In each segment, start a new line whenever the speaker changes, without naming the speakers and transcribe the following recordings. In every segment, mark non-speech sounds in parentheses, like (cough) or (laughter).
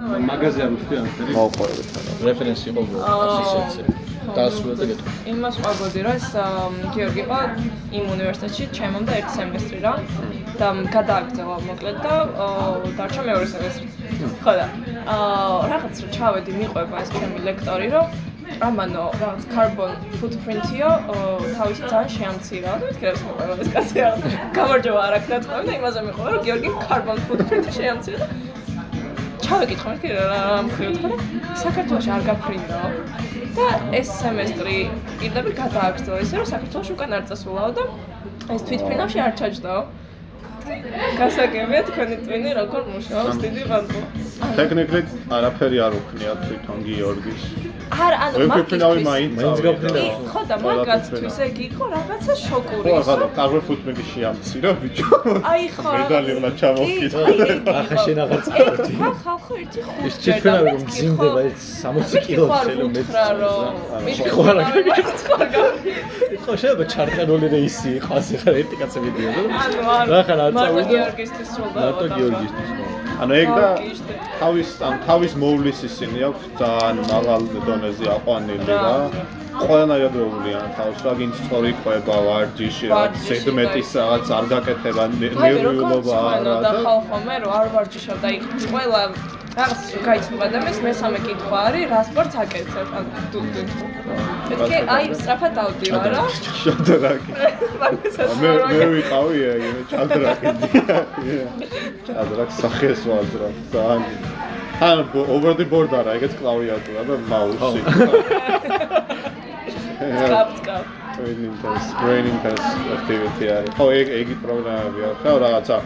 მაგაზია ვიფხვი ამ წელი.
მოუყვებით რა.
რეფერენსი იყო გასიცეცე. დასრულდა გეთქვა.
იმას ვაგვადი რა ეს ამ, გიორგი ყო იმ უნივერსიტეტში ჩემამდე ერთი სემესტრი რა და გადააგზავა მოკლედ და ო, დარჩა მეორე სემესტრი. ხო და აა რაღაც რო ჩავედი მიყვება ეს ჩემი ლექტორი რომ ამანო რაღაც carbon footprint-იო ო, თავისი ძალიან შეამცირა და მეთქილებს მოყვება ეს კაცი რა. გამარჯობა არ აქნა თქვენ და იმაზე მიყვება რომ გიორგი carbon footprint-ი შეამცირა და ჩავეკითხა მეთქი რა რა მხრივ თქვა და საქართველოში არ გაფრინდაო. და ეს სემესტრი პირდაპირ გადააგრძელო ისე რომ საქართველოს უკან არ წასულაო და ეს თვითფრინავში არ ჩაჯდაო. გასაგებია თქვენი ტვინი როგორ მუშაობს დიდი ბანკო.
ტექნიკლით არაფერი არ უქნია თვითონ გიორგის.
არ ანუ
ვიფრინავი მაინც.
მაინც
წავიდა.
გაფრინავი.
კი, ხო და მაგათთვის ეგ იყო რაღაცა შოკური.
ხო, ხადა, კარვე ფუტმინგი შეამცირა ბიჭო.
აი ხო.
მედალი უნდა ჩამოვკიდა.
ახლა შენ
აღარ
წავდი. ხა ხალხო ერთი ხუთი.
ის თვითონ რომ მძიმდება ეს 60 კილო შეიძლება
მეტი
მეტი.
რო. მითხრა,
ხო, არა,
ხო რა გავიგე.
(laughs) ხო შეიძლება ჩარტანული რეისი იყო ასე ხარ ერთი კაცი მიდიოდა.
ანუ არ
რა ხარ, არ
მარტო
წავიდა?
გიორგისთვის სრულდება.
ნატო გიორგისთვის.
(laughs) ანუ ეგ და
კი, შტე.
თავის ან თავის მოვლის ისინი აქვს ძალიან მაღალ დონეზე აყვანილი რა.
რა.
ყველანაირად ეულიან თავს, რა გინც სწორი ყვება, ვარჯიში, რა
ვარჯიში,
სეგმენტის რაღაც არ გაკეთება, ნე-
აი, რომ
ნერვიულობა არა
და
და
ხალხო მე რომ არ ვარჯიშავ და იქ ყველა რაღაც გაიცნობა და მეს მესამე კითხვა არის რა სპორტს აკეთებ ან დუდი ეთქე აი სწრაფად დავდივარ რა
(laughs) შადრაკი.
მაგასაც
მე
არ
მე
(laughs) ვაკეთებ.
ვიყავი ეგ ჩადრაკი. ჩადრაკს სახეს ვაძრავ ძალიან. ან over the board არა, ეგეც კლავიატურა და მაუსი.
გავწკავ
brain intense brain intense activity არის. ხო, ეგ ეგი პროგრამები აქვს. და რაღაცა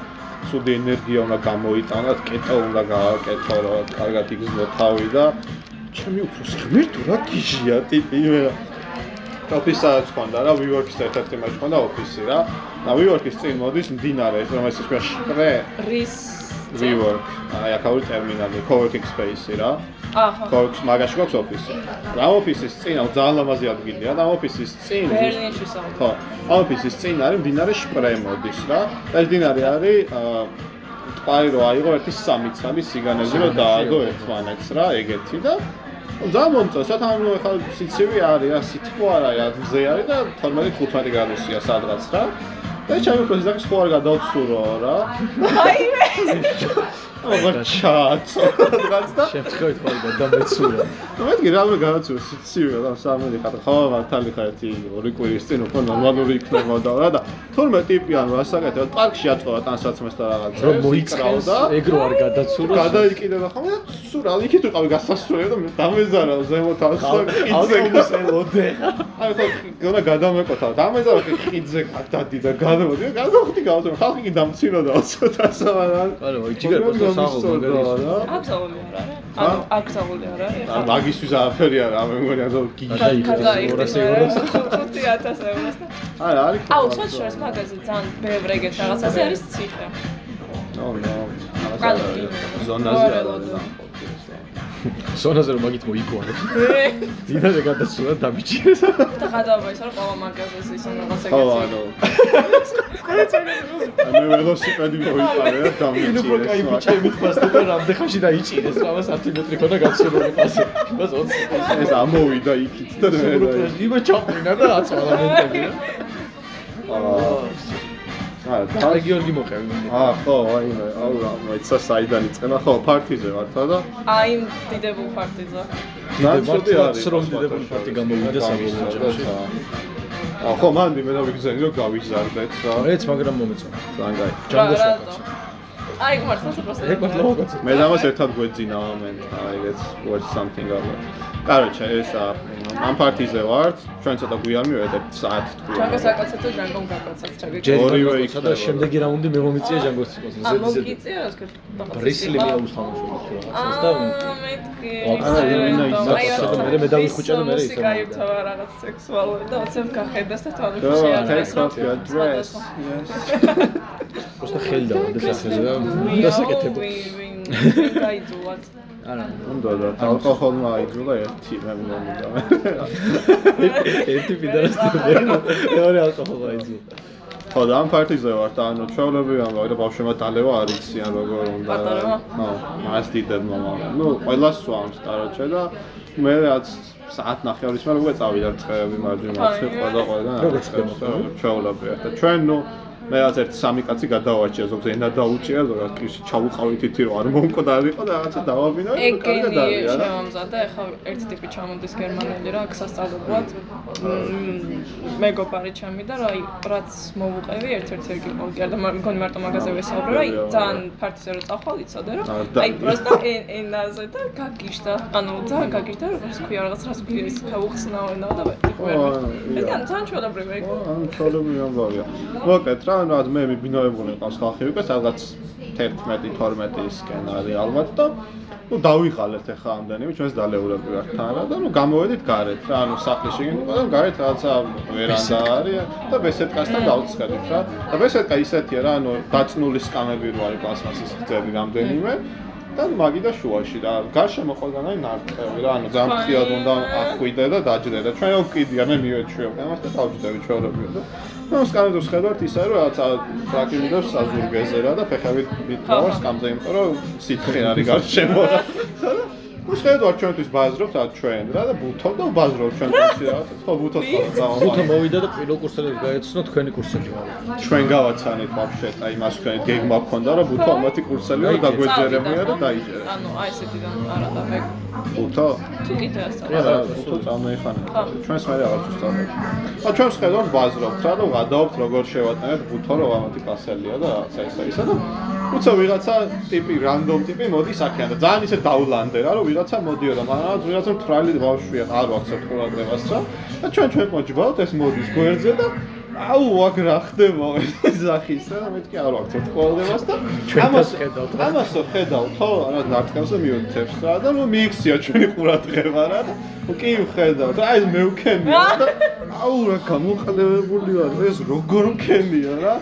ცუდი ენერგია უნდა გამოიტანოთ, კეტო უნდა გააკეთო, რა კარგად იგრძნო თავი და ჩემი უფრო ღმერთო რა გიჟია ტიპი მე რა. ოფისაც ხონდა რა, WeWork-ის ერთ-ერთი მაჩ ხონდა ოფისი რა. და WeWork-ის წინ მოდის მდინარე, ეს რომ ესე თქვა შპრე
რის
WeWork. აი, აქაური ტერმინალი, co-working space-ი რა.
აჰა
კორქს მაგაში გვაქვს ოფისი. რა ოფისის წინ აქვს ძალიან ლამაზი ადგილია და ოფისის წინ
ბერლინში სამ
ხო, ოფისის წინ არის მდინარე შპრე მოდის რა. და ეს მდინარე არის აა ტყაი რო აიღო ერთი სამი წამი სიგანეზე რომ დააგო ერთმანეთს რა, ეგეთი და ძალიან მომწონს, ანუ ახლა სიცივი არის რა, სითბო არა, რა, მზე არის და 12-15 გრადუსია სადღაც რა. და ჩემი უფრო ზაქს ხო არ გადავცურო რა.
აი მე
აღარ ჩააწო (laughs) სადღაც და
შემთხვევით ხოლმე დამეცურა.
ну მეთქი რამე გადაწევს სიცივე და სამელი ხარ ხო მართალი ხარ ერთი ორი კვირის წინ უფრო ნორმალური იქნება და რა და თურმე ტიპი ანუ ასაკეთებდა პარკში აწოვა ტანსაცმეს და რაღაცა
რომ მოიწევს ეგ რო არ გადაცუროს.
გადაიკიდება ხომ და სულ რა იქით უყავი გასასწორია და მე დამეზარა ზემოთ ასაკი
ავტობუსზე ლოდე ხარ.
აი ხო გონა გადამეკოთა დამეზარა კი ხიძე გადადი და გადმოდი გადახვდი გავწევ ხალხი კი დამცინოდა ცოტა სამარან
არა, აი, ჯიგარ პოსტა საღო მაგარი.
აგზავული არა რა? ანუ აგზავული არა ეხლა
მაგისთვის არაფერი არა მე მგონი ანუ გიჟი
გადაიხდი
200 ევროს.
5000 ევროს და
არა არის
აუ ცოტა შორს მაგაზე ძალიან ბევრ ეგეთ რაღაცაზე არის ციხე
ნო ნო
კალო.
ზონაზე
ორე
არ არის
ლოდო.
სონაზე რომ მაგით მოიყვანე.
ე, (laughs)
დინარე გადაცურა დამიჭირეს.
და გადააბაისა რა ყველა მაგაზეს ის ან რაღაცა
ხო
ეგეთი
ანუ მე ველოსიპედი მოვიყარე და
ნუ უფრო кайფი
დამიჭირეს
ჩემი თვასთან და რამდენ ხანში დაიჭირეს რა 10 მეტრი ქონა გაცურული პასი მას 20
ეს ამოვიდა იქით და მე
სულ პრეზიდენტი ჩაყვინა და აწვალა მომენტი
აა
არა გიორგი მოყევი მე
აა ხო აი მე აუ რა მოიცა საიდან იწყება ხო პარტიზე ვართა და
(laughs) აი იმ დიდებულ ფაქტიზე.
მართლაც რომ დიდებული პარტი გამოვიდა საბოლოო ჯამში.
აა ხო მანდი მე დავიგზავნი რომ გავიზარდეთ რა
მეც მაგრამ მომეწონა
ძალიან კაი
ჯანგოში
რა,
აკაცო.
რატო? აი გმართავს უბრალოდ.
ეგ მართლა მოგაწე
მე ამას ერთად გვეძინა მომენტა, I guess watch something about. კაროჩე, ეს ა, ამ პარტიზე ვართ, ჩვენ ცოტა გვიან მივედეთ, საათ
ჯანგოს
თქვი.
აკაცაცო ჯანგომ გაკაცაც ჩაგე.
ჯერ
ორივე
ორივე
იქნება.
და შემდეგი რაუნდი მე მომიწია ჯანგოს იყოს
ამ
ზედიზედ
მოგიწია რა თქვა.
ბრისლი მე უსამაშო რაღაცას და
აა მეთქი.
აა,
ვინა
იზარდა, სა- მე- მე დავიხუჭა და მე ისე
ისე გაითავა რაღაც სექსუალური და ოცებ გახედას და თან
Go
ხუშია.
on, take off your
(laughs)
dress. Yes.
просто ხელი დავადეს ახლა და დასაკეთებ
დასაკეთებო. გაიძულათ.
არა
უნდა და ალკოჰოლმა აიძულა ერთი მე მომდა.
ერთი პიდარასთან მეორე ალკოჰოლი აიძულა
ხო და ამ პარტიზე ვართ, ანუ ჩვეულებრივ ამბავ, რა ბავშვებმა დალევა არ იციან როგორ უნდა.
პატარებმა?
ხო, მას დიდებმა მაგრამ. ნუ ყველას სვამს ტაროჩე და მე რაც საათ ნახევრის მერე უკვე წავიდა წყეები მარჯვნივ, ყველა ყველა.
როგორ წყეებს?
ჩვეულებრივ და ჩვენ ნუ მე რაც ერთ სამი კაცი გადავაჭია, ზოგს ენა დაუჭია, ზოგს კირში ჩავუყავით ითი რომ არ მომკვდარიყო და რაღაცა დავაბინა და კარგად
ეგენი
არის არა.
შემამზადე, ახლა ერთი ტიპი ჩამოდის გერმანელი რა, აქ სასწავლებლად. მ, მეგობარი ჩემი და რა რაც მოვუყევი, ერთ-ერთი ეგ იყო. კი არა, მაგრამ მგონი მარტო მაღაზია ვესაუბრე რა,
კი, არა.
ძალიან ფართიზე რომ წახვალ იცოდე რა.
არ და-
აი, просто ე- ენაზე და გაგიშდა. ანუ ძალიან გაგიშდა, როგორც თქვი რაღაც რას გილის, თავხსნაო და
ხო,
ვერ.
არა,
ეს
ია.
ძალიან ჩვეულებრივი ეგ.
ან ცოლები ამბავია. მოკლედ რა, ანუ მე მიბინოებული ყავს ხალხი უკვე სადღაც 11 12-ისკენ არის ალბათ და ну დავიღალეთ ახლა ამდენივე ჩვენს დალეულები ვართ თანა და ну გამოვედით გარეთ რა ანუ სახლში გინდა და გარეთ რაღაცა ვერანდა არის და ბესედკასთან დავწყებით რა და ბესედკა ისეთია რა ანუ დაწნული სკამები რო არის პლასმასის ხდები რამდენიმე და მაგიდა შუაში და გარშემო ყველგანაი ნარტყევი რა ანუ ძალიან ფრთხილად უნდა ახვიდე და დაჯდე და ჩვენ უკვე კიდია მე მივეჩვევ ამას და დავჯდები ჩვეულებრივ და ну скажем შეხედავთ ისე რომ რაღაცა პრაკტიკულად საზურგეზე რა და ფეხებით მიტყავს სკამზე იმიტომ რომ სითხე არის გარშემო (laughs) რა და ну შეხედავთ ჩვენთვის ბაზრობთ რა ჩვენ რა და ბუთობ და ბაზრობ ჩვენ ისე რა ხო ბუთოს ხო
ხუთო
დავამახე
მოვიდა და პირველ კურსელებს გაეცნო თქვენი კურსელი მაგრამ
ჩვენ გავაცანით ვაფშეტ აი მას თქვენ გეგმა გქონდა რომ ბუთო ამათი კურსელი რომ დაგვეჯერებია და დაიჯერა
ანუ აი ესეთიდან არა და მე
ბუთო
თუ კიდე ასე. (laughs)
რა უფრო წარმოეხანა. ჩვენს მე რაღაც უსწავლებს. და ჩვენს ხედავთ ბაზრობთ რა და ვადაობთ როგორ შევატანეთ ბუთო რომ ამათი პასელია და რაღაცა ისა ისა და უცა ვიღაცა ტიპი რანდომ ტიპი მოდის აქედან და ძალიან ისე დავლანდე რა რომ ვიღაცა მოდიოდა მაგრამ ვიღაცა მთრალი ბავშვია არ ვაქცევთ ყურადღებას რა და ჩვენ ჩვენ მოჯბავთ ეს მოდის გვერდზე და აუ აქ რა ხდება ზახისა და მეთქი არ ვაქცევთ ყურადღებას და
ჩვენთან
ამას-
ხედავთ, რა.
ამასო ხედავ ხო რა ნარტყევზე მიუთებს რა და ნუ მიიქცია ჩვენი ყურადღება რა და ნუ კი ვხედავ და აი ეს მე ვქენია და აუ რა გამოყალებული ვარ ეს როგორ ვქენია რა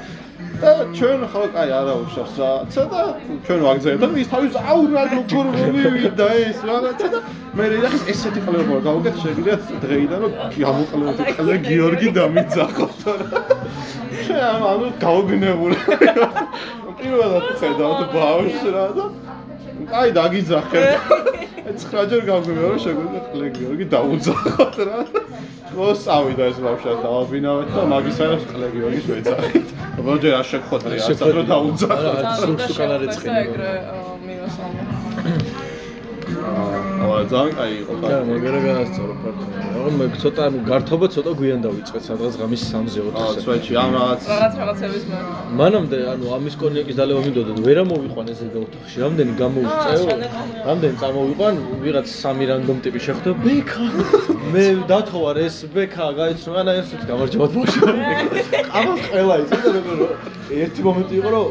და ჩვენ ხო აი არა უშავს რა ცა და ჩვენ ვაგზავნებთ და ის თავის აუ რა როგორ მივიდა ეს რა და ცა და მე რეალს ესეთი ყლებო გავუკეთე შეგიძლიათ დღეიდან რომ გამოყალებული ყალე გიორგი დამიძახოთ რა ჩვენ ამ- ანუ გაუგნებული პირველად ხედავთ ბავშვს რა და აი დაგიძახებ. 9-ჯერ გავგვიმეორე რომ შეგვიძლია ყლე გიორგი დაუძახოთ რა. მოსავიდა ეს ბავშვს დავაბინავეთ და მაგისარებს ყლე გიორგის ვეძახით. როჯერ არ შეგხოთრი არც რომ დაუძახოთ.
არა, სულ სუკან არ
და ეგრე მივასალმე.
აა ძალიან კაი იყო
და
ბატონო.
მეგრე გაასწორო პარტია რომ მე ცოტა ანუ გართობა ცოტა გვიან დავიწყეთ სადღაც ღამის 3-ზე
აა
4-ზე
სვეჩი ამ რაღაც
რაღაც რაღაცების მე.
მანამდე ანუ ამის კონიაკის დალევა მინდოდა ვერა მოვიყვანე ზედა ოთახში რამდენი გამოვიწეო
შანე გამოვიყვანე.
რამდენი წამოვიყვან ვიღაც სამი რანდომ ტიპი შეხვდა ბექა მე დათოვარ ეს ბექა გაიცნო ანა ერთ გამარჯობათ (laughs) ბავშვი ყავს ყველა იცოდა როგორ ერთი მომენტი იყო რომ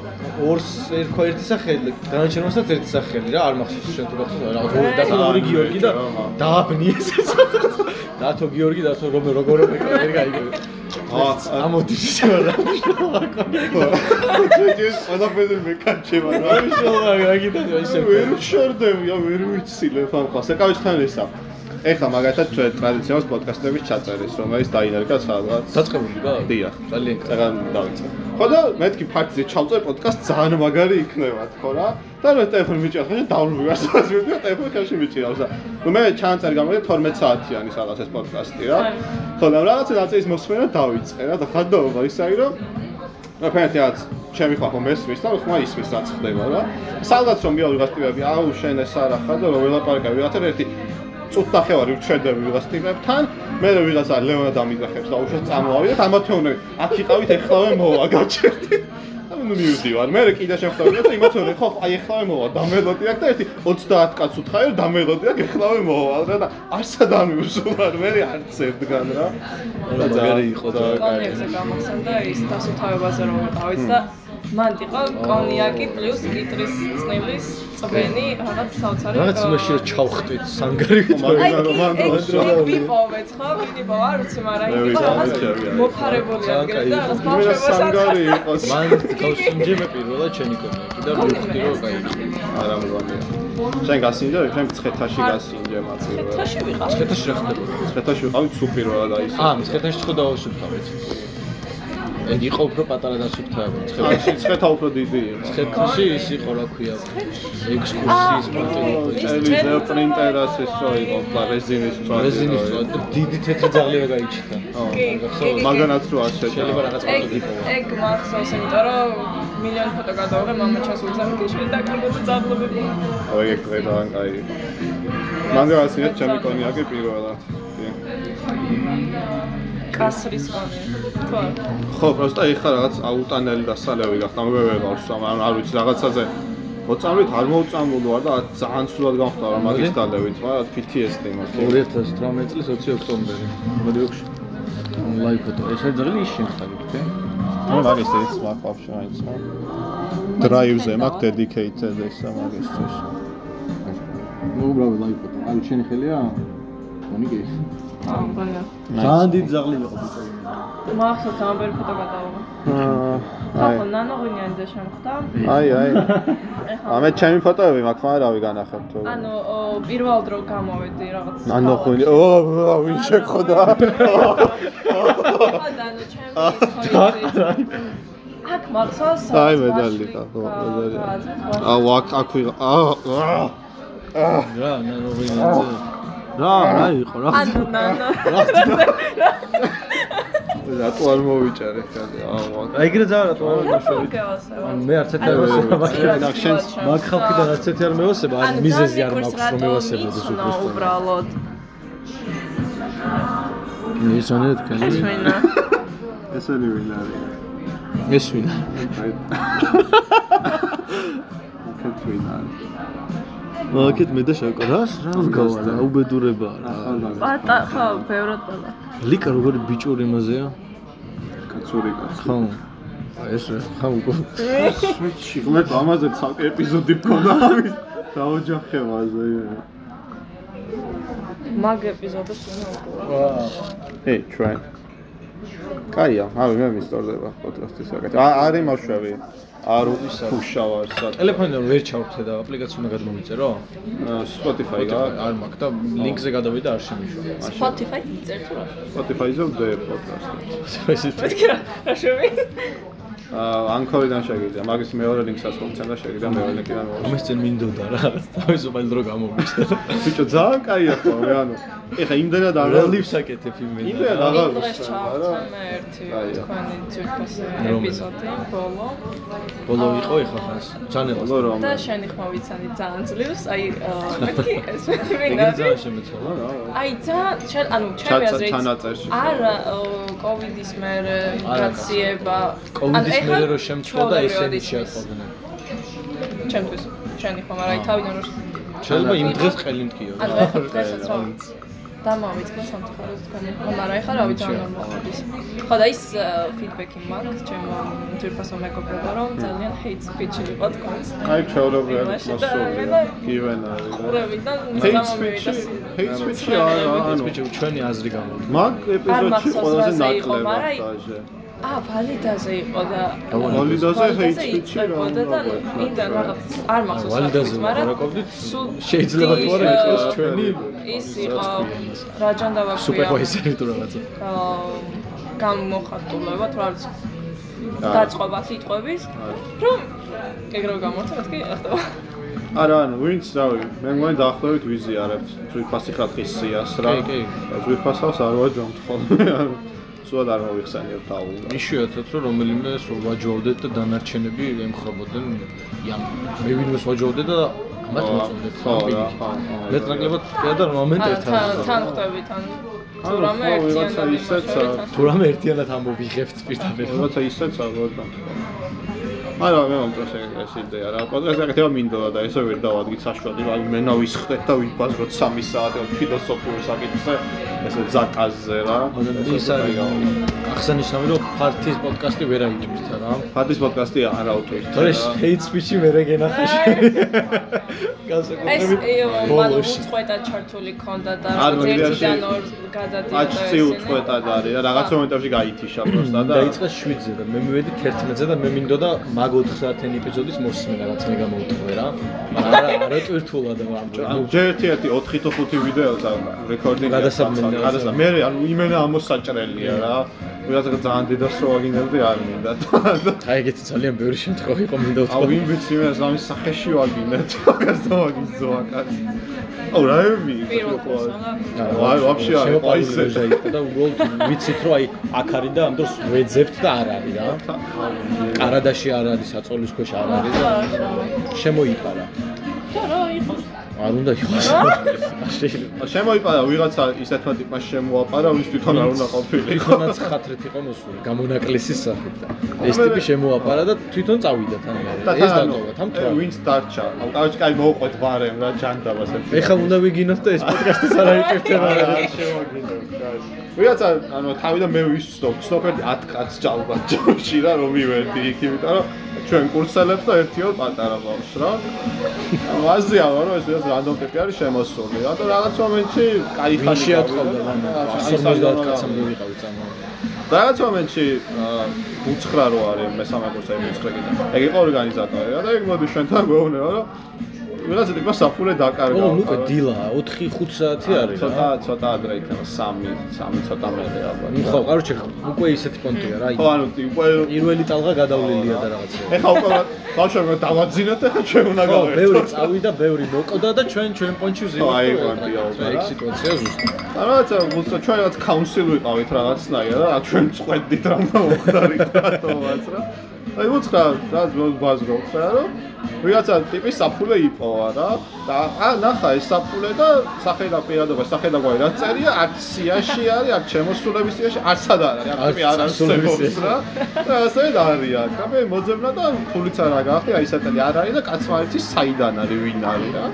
ორს ერქვა ერთი სახელი განაჩენოსაც ერთი სახელი რა არ მახსოვს შენ თუ გახსოვს რაღაც ორი დათო ორი გიორგი და დააბნიეს ეს დათო გიორგი დათო რომე როგორ ბექა ვერ (laughs) გაიგე
აა
ამოდი შე რა შე (laughs) რა
სვეჩის ყველაფერი მეკაჩება რა.
შოვა გაგიტანო ისე
ვერ შორდები, აა, ვერ ვიცილებ ამ ხალხს. ეკავისთან ესა. ეხლა მაგალითად ჩვენ ტრადიციავს პოდკასტების ჩაწერის, რომელიც დაინერგა სადღაც.
დაწყებული გა?
დიახ.
ძალიან კარგი.
წაგან დავიწყე. ხო და მეთქი ფაქტზე ჩავწე პოდკასტ ძალიან მაგარი იქნება თქო რა. და მე ტელეფონი მიჭირავს, ხა დავრბივას ვიდეო ტელეფონში მიჭირავს და ნუ მე ჩანაწერ გამოდი 12 საათიანი სადღაც ეს პოდკასტი რა. ხო და რაღაცა ნაწილის მოსმენა დავიწყე რა და ხანდაობა ის არის რომ ფერეთ რაც ჩემი ხალხო მესმის და ხმა ისმის რაც ხდება რა. სადღაც რომ მივალ ვიღაც ტიპები, აუ შენ ეს არ ახარ და რომ ველაპარაკები ვიღაცთან ერთი წუთნახევარი ვჩერდები ვიღაც ტიპებთან, მე რომ ვიღაცა ლეონა დამიძახებს და უშოს წამოვიდეთ, ამათეუნე აქ იყავით ეხლავე მოვა გაჩერდით. ანუ მივდივარ, მე კიდე შევხვდები და იმათეუნე ხო აი ეხლავე მოვა დამელოდი აქ და ერთი 30 კაცს უთხარი რომ დამელოდი აქ ეხლავე მოვა რა და არსად არ მივსულარ მე არც ერთგან რა. და ძალიან-
მაგარი იყო და
ძალიან კაი.
კონიაკზე გამახსენდა ის დასუფთავებაზე რომ ვიყავით და მან იყო კონიაკი პლუს კიტრის წყლის წვენი რაღაც საოცარი
რაღაც
აა,
იმაში რომ ჩავხტვით სანგარივით
მაგარი
აი,
რა რომანტიკა,
ეგ-
რა
ეგ ვიპოვეთ ხო? ვინიბო არ ვიცი, მაგრამ
მე
იქ იყო
ვიცი,
რაღაც
ვიცი, არის.
მოფარებული
ძალიან
ადგილი
კაი
და
იყო.
რაღაც
იმენა
ბავშვებსაც
სანგარი იყოს.
მან თავს იმჯერე პირველად შენი კონიაკი და მივხვდი რომ გაიგე
არა მგონია. შენ გასინჯა, შენ ცხედაში გასინჯა მაწილე.
ხეთაში ვიყავ.
ცხედაში რა ხდებოდა
ცხედაში ვიყავით სუპირად აი ეს.
აა ცხედაში ხო დავასუფთავეთ
ეგ იყო უფრო პატარა და სუფთაა
ან
ცხელი.
შეცხეთა უფრო დიდი იყო.
ცხეთში ის იყო რა ქვია ექსკურსიის პუნქტი იყო ის.
ტელევიზორ პრინტერ ასე სწო იყო, და რეზინის სწო.
რეზინის წვადი დიდი თეთრი ძაღლია გაიჩიტა.
კი, კი, კი.
მაგანაც რო არ შეჭა.
შეიძლება რაღაც
ეგ
პატარა იყო.
ეგ მახსოვს, იმიტომ რომ მილიონი ფოტო გადავიღე მამაჩას უძახილში და კარგად ძაბლობები.
აი ეგ ყველგან აი. მანდე ასე ჩემი კონიაკი პირველად. კი.
კასრის ვამე. თუ არა.
ხო, პროსტა ეხა რაღაც აუტანელი და სალევი გახდა, მე ვერ ვიყავს, მაგრამ არ ვიცი რაღაცაზე მოწამვით არ მოვწამულო არ და ძალიან ცუდად გამხდა რა მაგის დალევით რა PTSD მაქვს.
2018 წლის 20 ოქტომბერი. მოდი ოქში. ონლაინ ფოტო. ეს ძაღლი ის შეხტაგით, თე?
ნუ მაგის ეს მაყავს რაიც რა. Drive-ზე მაქვს dedicated ეს მაგისთვის.
ну убрал лайк. А учени ხელია? მონიკეი.
ამბანა.
ძალიან დიდ ზაღლი იყო.
მახსოვს ამბერი ფოტო გადავიღე.
აი
ხო, ნანო გონიანიძე შემხდა.
აი აი.
ეხლა
ამე ჩემი ფოტოები მაქვს, მაგრამ რავი განახებ თუ.
ანუ ო, პირველ დრო გამოვედი რაღაც.
ანუ ხუნი, ო, ვინ შეგხოდა?
ხო, და ანუ ჩემი ხონი. აქ მახსოვს
(laughs) აი მედალი და ხო, მედალი. აუ, აქ აქ ვიღა. აა. აა.
რა, ნა როგორია?
რა, რა იყო რა?
ანუ
(laughs)
ნანო (laughs)
რატო არ მოვიჭარე ხალე? აუ,
აი ეგრე ძალიან რატო არ ვიმუშავე?
მოვიკევასე
მე არც ეთერ
ვარ.
ვესება.
ნახშენს,
მაგ ხალხიდან არც ერთი არ მევასება, ან მიზეზი არ მაქვს რომ მევასებოდეს
უკვე
უბრალოდ.
უბრალოდ
ის რა
ეს
თქვენი?
ვინა
ესენი ვინ (laughs) არის?
ეს ვინა?
აი. უკეთ ვინ არის?
მაგეთ მე და შევკო რას? რა ვგავა რა, უბედურება რა.
ახალ არის.
პატა ხო ბევრად პატა
ლიკა როგორი ბიჭური მაზეა?
კაცური კაცი.
ხო. აი ეს რა, ხა უკვე.
შვედში ღმერთ ამაზე ცალკე ეპიზოდი მქონდა ამის. დაოჯახებაზე.
მაგ ეპიზოდებს ვინა უყურა
ეი, ჩვენ. კაია, ავი მე მისტორდება პოდკასტის საკეთ. არ იმარშვები. არ უშავარ საკეთ.
ტელეფონიდან ვერ ჩავხდე და აპლიკაცია უნდა გადმოვიწერო?
Spotify
არ
გაქვს.
არ მაქვს და ლინკზე გადავიდა არ შემიშვა.
Spotify იწერ თუ რა
Spotify-ზე ვდე პოდკასტი.
მეთქი რა რა შევი
აა, ანქორიდან შეგიძლია, მაგის მეორე ლინკსაც მოგცემ და შეგიძლია მეორე ლინკიდან მოვაშო.
ამას წინ მინდოდა რა, თავისუფალი დრო გამოვიჩდა.
ბიჭო ძალიან კაია ხო მე ანუ ეხა იმდანად არ
რა ლიფსაკეთებ იმენა.
იმდანად აღარ
დღეს
ვიხსენ,
ჩავხსენ ერთი
აი, რა.
თქვენი ძირფასი
რომელი?
ეპიზოდი ბოლო
ბოლო იყო ეხა ხას. ჩანელს.
ბოლო რომ
და შენი ხმა ვიცანი ძალიან ძლივს აი
(laughs)
აა, მეთქი ეს ვინა
ეგრე
არის
ძალიან შემეცვალა.
რა, რა.
აი ძალიან შენ ანუ ჩემი
ჩაცა-
აზრით
ჩანაწერში.
არა ო, კოვიდის მერე
არა,
გაციება
კოვიდის მერე რო შემწყდა და ესენი შეაყვნენ.
ჩემთვის შენი ხომ არა აი თავიდან რო შ-
შეიძლება იმ დღეს ყელი მткиო.
ანუ ეხლა დღესაც რა ვიცი დამავიწყე სამწუხაროდ თქვენი ხომ არა ეხლა რა ვიცი რა მოხდის ხო და ის ა, ფიდბექი მაქვს ჩემო ძირფასო მეგობრებო რომ ძალიან ჰეიტ სპიჩი იყო თქვენს
აი ჩაურობენ
იმაში და მე
მოსული
და
გივენ არის რა.
ყურებიდან
ჰეიტ
დამოვიდა
სპიჩი ჰეიტ სპიჩი
სვენელები.
არა ანუ
ბიჭო ჩვენი აზრი გამოვიდა.
მაგ ეპიზოდში
მახსოვს
ყველაზე
რაზე იყო,
ნაკლებ
მაგრამ
ახლა ჟე
ა ვალიდაზე იყო და
ვალიდაზე ჰეიტ სპიჩი რა
იწყებოდა და მინდა რაღაც არ მახსოვს რა
ვალიდაზე
თქმა არა,
ვაპარაკობდით,
სულ
შეიძლება თუ არა
ის,
იყოს
აა,
ჩვენი
ის
რა
იყო
თქმა უნდა.
რაჯანდავა ქვია
სუპერვაიზერი თუ რაღაცა.
აა, გამოხატულებად რა ვიცი
არა.
დაწყობა სიტყვების რომ ეგრევე გამორთა მეთქი ახლა
არა ანუ ვინც რავი მე მგონი დაახლოებით ვიზიარებთ ძვირფასი ხალხის სიას რა
კი,
ძვირფასავს არ ვაჯამთ ხოლმე ანუ სულ არ მოვიხსენიებ თავი
ნიშნავთ რომ რომელიმე სულ ვაჯოვდეთ და დანარჩენები ემხრობოდნენ იამ მე ვინმეს ვაჯოვდე და ამათ
ხო,
მოწოდეთ
ხო, რა,
პირიქით.
ხო, ხო, რა.
მეტ ნაკლებად და მომენტ
არა,
ერთად
თან თან ხვდებით ან თუ
ანუ,
რამე
ხო, ვიღაცა
ერთიანად
ისეც,
იმაშავეთ,
აა,
ან-
თუ რამე ერთიანად ამოვიღებთ პირდაპირ
რაღაცა ისეც არ ვაჯამთ არა მე მომწონს ეგ- ეს იდეა რა პოდკასტი აკეთება მინდოდა და ესე ვერ დავადგით საშუალება აი მე ნავისხდეთ და ვიბაზროთ 3 საათი ფილოსოფიურ საკითხზე ესე ზაკაზზე რა
ის არის აღსანიშნავი რომ ფართის პოდკასტი ვერ აიტვირთა რა
ფადის პოდკასტი არა უტვირთ
თორე ჰეიტ სპიჩი მე რეგენახა შე
ეს
განსაკუთრებით
მან
ბოლოში.
უწყვეტა ჩართული ქონდა და
ანუ
რაღაც
იდეაში
ერთიდან ორ გადადიოდა
აჩცი უწყვეტად არის რა რაღაც მომენტებში გაითიშა პროსტა და
დაიწყეს 7-ზე და მე მივედი 11-ზე და მე მინდოდა მაგ 4-5 ეპიზოდის მოსმე რაღაც მე გამოუტყვე რა. არა, არა ტვირთულად ამჯერად.
ჯერ ერთი-ერთი 4 თუ 5 ვიდეოც ამ რეკორდინგია.
გადასაბმენია.
გადასაბმენია. მე ანუ იმენა ამოსაჭრელია რა. ვიღაცა ძალიან დედასრო აგინდებდი არ მინდა. (laughs)
აი ეგეთი ძალიან ბევრი შემთხვევა იყო მინდა
აუ
ვთქვა.
იმ ვიცი მე სამის სახეში (laughs) ვაგინეთ. ეს დავაგის ზოაკაც. აუ რა
პირველ
ვიყო.
კურსს
არა,
აი, ვაფშე არ იყო, აი,
შემოპარული
(laughs)
ვეჟა იყო და უბრალოდ ვიცით რომ აი აქ არის და ამ დროს ვეძებთ და არ არის რა. კარადაში არ არის, აწოლის ქვეშ არ არის და შემოიყარა.
და რა იყო?
არ უნდა იყოს. (laughs) არ შეიძლება.
შემოიპარა ვიღაცა ისეთმა ტიპმა შემოაპარა, ვის თვითონ არ უნდა ყოფილიყო.
თვითონაც ხათრით იყო მოსული, გამონაკლისის სახით და ეს ტიპი შემოაპარა და თვითონ წავიდა თან
და
მე.
თან
ეს
ანუ,
დატოვა თან
ე,
თვალი.
ვინც დარჩა. აუ კაი, კაი მოვყვეთ ვარემ რა ჯანდაბას ერთი.
ეხლა უნდა ვიგინოთ და ეს პოდკასტიც არ აიკეთება რა.
არა, შემოგინდოთ, კაი. ვიღაცა, ანუ თავიდან მე ვისწნობ, ვცნობ 10 კაცს (laughs) ჯალბა ჯოში რა, რომ მივედი იქ, იმიტომ რომ ჩვენ კურსელებს და ერთიო პატარა ბავშვს რა. ანუ აზია ვარ, რომ ეს ეს რანდომ ტიპი არის შემოსული რა და რაღაც მომენტში კაი ხანი
ვინ შეათხოვდა მან?
რა,
70 კაცს
რა.
მივიყავი წამო.
და რაღაც მომენტში აა, უცხრა რო არის მესამე კურსზე უცხრე კიდე. ეგ იყო ორგანიზატორი რა და ეგ მოდი ჩვენთან გვეუბნება რომ ვიღაცა ტიპმა საფულე დაკარგა.
ოღონდ უკვე
რა.
დილა 4-5 საათი არის რა.
ცოტა ცოტა ადრე იქნება 3 3 ცოტა მერე ალბათ.
ხო, კაროჩე, უკვე ისეთი კონტია რა.
ხო, ანუ ტი- უკვე
პირველი ტალღა გადავლილია და რაღაცა.
ეხა უკვე ბავშვებმა დავაძინოთ ეხა ჩვენ უნდა
ხო,
გავერთ.
ბევრი წავიდა, ბევრი მოკვდა და ჩვენ ჩვენ პონჩი ვზივოთ.
აი,
და
გვარდია
ვაკრავთ, რა,
უკვე, რა.
ეგ სიტუაცია ზუსტად.
და რაღაცა უცო ჩვენ რაღაც კაუნსილ ვიყავით რაღაცნაირად და აქ ჩვენ წვედით რა მომხდარით რატომაც რა. აი უცხრა რაც ბაზრობს რა რომ ვიღაცა ტიპი საფულე იპოვა რა და ა ნახა ეს საფულე და სახელა პირადობა სახელაგვარი რაც წერია არც სიაში არის არც შემოსულების სიაში არც არ არის
არც
აქტივი არ
შემოსულების
არსებობს
სიაში.
რა და ასე და არის აქ აბე მოძებნა და ფულიც არ აგახი აი სატანი არ არის და კაცმა არ იცის საიდან არის ვინ არის რა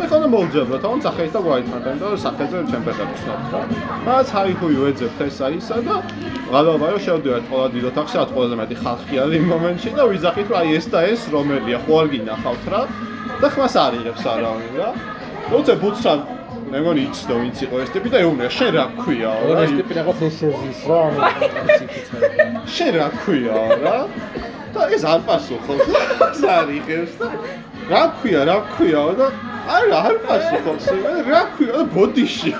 და ხომ მოვძებროთ თვითონ სახელით და გვაიტანთ და სახელზე ჩვენ გადაგწნობთ რა რაც ჰაი ჰუი ვეძებთ ეს აი ისა და გადავაბა რომ შევდივართ ყველა დიდ ოთახში რა ყველაზე მეტი ხალხი არის იმ მომენტში და ვიზახით რომ აი ეს და ეს რომელია ხო არ გინახავთ რა და ხმას არ იღებს არავინ რა როცა ბუცსა მე მგონი იცნო ვინც იყო ეს ტიპი და ეუბნება შენ რა გქვიაო
ორი
რა
ეს
იმ-
ტიპი რაღაც შორზის რა. ანუ ეს იქით არის.
შენ რა ქვია რა? და ეს არ პასუხობს. ეს არ იღებს და რა ქვია, რა ქვია და არა, არ პასუხობს. რა ქვია და ბოდიში.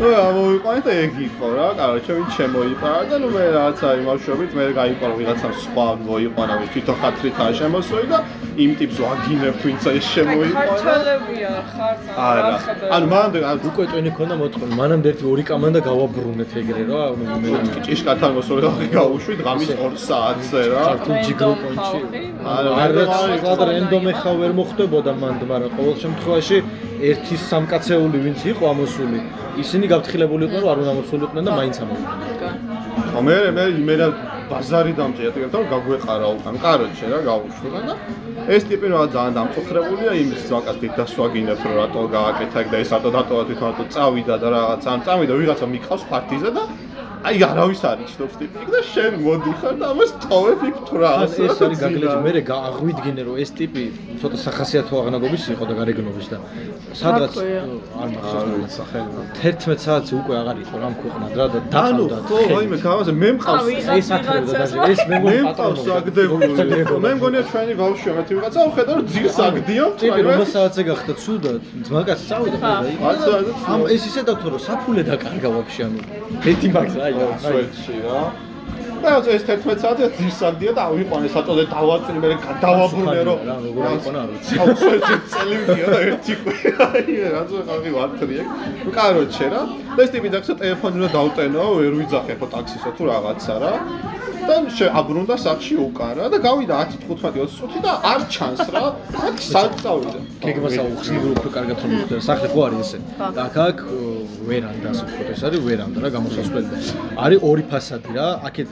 ну, ამოვიყვანეთ და ეგ იყო რა, კაროჩე ვინ შემოიპარა და ნუ მე რაღაცა იმავშობით მე გაიყვანა ვიღაცამ სხვა მოიყვანა ვინ თვითონ ხათრითა შემოსული და იმ ტიპს ვაგინებ ვინც ეს შემოიყვანა.
ქართველებია ხართ
არა. ანუ მანდ
უკვე ტვენი ქონდა მოთხოვნა. მანამდე ერთი ორი კამანდა გავაბრუნეთ ეგრე რა. ანუ მე
ჭიშკათან მოსული გავუშვით ღამის 2 საათზე რა.
ქართულში გროპონჩი.
არა,
არა,
რანდომ
სხვა რენდომ ეხა ვერ მოხდებოდა მანდ, მაგრამ ყოველ შემთხვევაში ერთი სამკაცეული ვინც იყო ამოსული, ისინი გაფრთხილებული იყვნენ, რომ არ უნდა მოსულიყვნენ და მაინც ამოვიდნენ.
ხო მე მე იმენა ბაზარი დამჭირეთ ეგრეთ რომ გაგვეყარა უკან კაროჩე რა გავუშვლა და ეს ტიპი რა ძალიან დამწუხრებულია იმის ზვაკას დიდასვაგინებს რომ რატო გააკეთა ეგ და ეს რატო დატოვა თვითონ რატო წავიდა და რაღაც ან წავიდა ვიღაცა მიყავს პარტიზე და აი არავის არ იცნობს ტიპი ეგ და შენ მოდიხარ და ამას ტოვებ იქ თრას
ან ეს არის გაგლეჯი მე რა აღვიდგინე რომ ეს ტიპი ცოტა სახასიათო აღნაგობის იყო და გარეგნობის და სადღაც
აქვეა.
არ მახსოვს
სახელი
11 საათზე უკვე აღარ იყო რამ ქვეყნად რა და
ანუ
დათანდა
ხო აიმე გავაზე მე მყავს
ავიღე
ეს ათრებდა და ეს მე
მე
მგონი
მყავს აგდებული მე მგონია ჩვენი ბავშვი მათი ვიღაცა ვხედავ რომ ძირს აგდიობთ
ტიპი
რა,
რომ საათზე გახდა ცუდად ძმაკაც წავიდა
ხა.
და იქ
რაც არის
ამ ეს ისე დათო რომ საფულე დაკარგა ვაფშე ანუ მეტი მაგს აი აი
სვეტში რა. და ეს ეს 11 საათი ძირსამდეა და ავიყვანე საწოდე დავაწვი მე გადავაბრუნე რომ
რა, როგორ აიყვანა, არ ვიცი.
აუ სვეტში წელივდია და ერთი კვირა აი რაზო ხალხი ვარტრიე. კაროჩე რა. და ეს ტიპი დაგცა ტელეფონი უნდა დავტენო, ვერ ვიძახე ხო ტაქსისა თუ რაღაცა რა. და შეაბრუნდა სახში უკან რა და გავიდა 10-15-20 წუთი და არ ჩანს რა. აქ სად წავიდა.
გეგმასა უხსნილი უფრო კარგად რომ მოხდეს. სახლი ხო არის ესე. და აქ აქ ო, ვერანდა სუფროთ ეს არის ვერანდა რა გამოსასვლელი. არის ორი ფასადი რა. აქეთ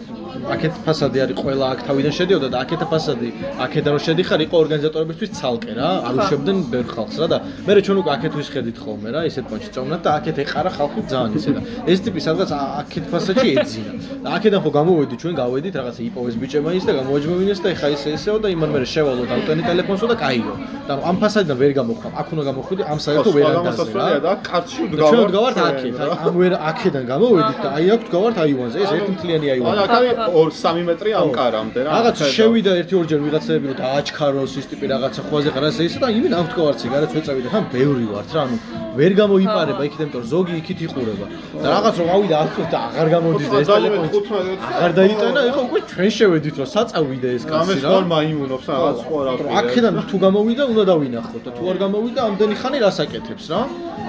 აქეთ ფასადი არის ყველა აქ თავიდან შედიოდა და აქეთ ფასადი აქედან რომ შედიხარ იყო ორგანიზატორებისთვის ცალკე რა. არ უშვებდნენ ბევრ ხალხს რა და მე რა ჩვენ უკვე აქეთ ვისხედით ხოლმე რა ისეთ პონჩი წოვნათ და აქეთ ეყარა ხალხი ძალიან ისე და ეს ტიპი სადღაც ა- აქეთ ფასადში ეძინა. და აქედან ხო გამოვედი ჩვენ გავე გავედით რაღაცა იპოვეს ბიჭებმა ის და გამოაჯმოვინეს და ეხა ისე ისეო და იმან მერე შევალო დავტენი ტელეფონსო და კაიო. და ამ ფასადიდან ვერ გამოხვალ. აქ უნდა გამოხვიდი, ამ საერთო ვერ არ
გამოსასწორია
დაზრა.
და კაცში
და
ვდგავარ.
ჩვენ ვდგავართ აქეთ, აი ამ ვერ აქედან გამოვედით და აი აქ ვდგავართ აივანზე, ეს ერთი მთლიანი აივანი.
არა, კარი 2-3 მეტრი ამ კარამდე რა.
რაღაც
ხედავ.
შევიდა ერთი ორჯერ ვიღაცები რომ დააჩქაროს ის ტიპი რაღაცა ხوازე ყარასე ისე და იმენ ავტკოვარცი გარეთ ვეწავიდა თან ბევრი ვართ რა ანუ ვერ გამოიპარება იქით იმიტომ რომ ზოგი იქით იყურება და რაღაც რომ ავიდა 10 წუთი და აღარ გამოდის და ეს ტელეფონი
15
აღარ დაიტანა ეხა უკვე ჩვენ შევედით რომ საწავიდა ეს კაცი რა
გამესხორმა იმუნობს რაღაც ხო რა.
რომ აქედან თუ გამოვიდა უნდა დავინახოთ და თუ არ გამოვიდა ამდენი ხანი რას აკეთებს რა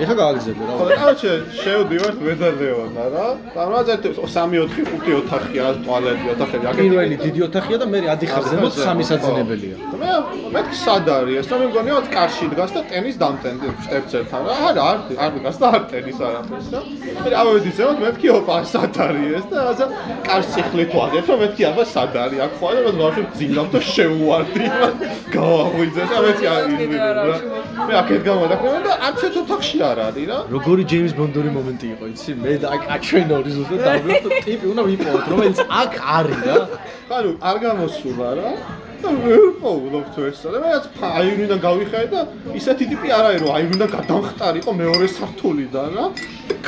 ეხა გააგზავნე რა
ხო, კაჩე, შევდივართ ვედადეონა რა. დამაძერთებს 3-4 5 ოთახია, ტუალეტი ოთახები, აკეთებს.
პირველი დიდი ოთახია და მე ადი ხაზემოთ სამი საძინებელია
მე მეთქი სად არის ეს? და მე მგონია კარში დგას და ტენის დამტენდი შტებცერთან რა. არა, არ არ დგას და არ ტენის არაფერს რა. მე ამოვედი ზემოთ მეთქი ოპა სად არის ეს და რაღაცა კარს ციხლით ვაგებ და მეთქი აბა სად არის აქ ხო არა რომ გავში ძილავ და შევუვარდი რა. გავაღვიძე და მეთქი არ ივიდი რა. მე აქეთ გამოდაკნევენ და არც ერთ ოთახში არ არის რა.
როგორი ჯეიმს ბონდური მომენტი იყო, იცი? მე და აქ აჩვენა ორი ზუსტად დავიწყოთ და ტიპი უნდა ვიპოვოთ, რომელიც აქ არის რა.
ანუ არ გამოსულა რა და ვერ პოულობთ ეს რა რაღაც აირიდან გავიხარე და ისეთი ტიპი არ არის რომ აირიდან გადამხტარიყო მეორე სართულიდან რა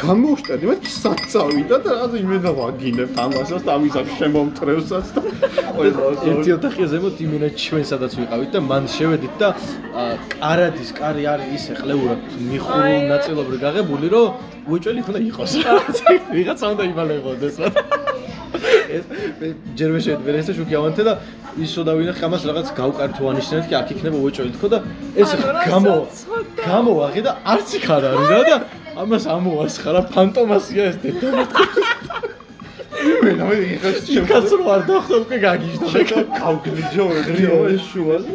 გამოვშტედი მე სად წავიდა და რაღაც იმენა ვაგინებ ამასაც და ამისაც შემომტრევსაც და
ერთი ოთახია ზემოთ იმენა ჩვენ სადაც ვიყავით და მან შევედით და ა, კარადის კარი არის ისე ყლეურად მიხურულ ნაწილობრივ გაღებული, რომ უეჭველით უნდა
(laughs)
იყოს რა. ვიღაცა უნდა იმალეღოდეს რა. ეს მე ჯერ მე შევედი ესე შუქი ავანთე და ისო დავინახე ამას რაღაც გავკართო ანიშნეთ კი აქ იქნება უეჭველით ხო და ეს
ანუ რა
გამო
საცოდაა.
გამოვაღე და არც იქ არ არის რა და ამას ამოასხა რა ფანტომასია
(laughs)
ეს დედა.
მე მე ეხლა
იქაც რო არ დახდა უკვე გაგიჟდა და
შეკავ გავგლიჯო ეგრეო ეს შუას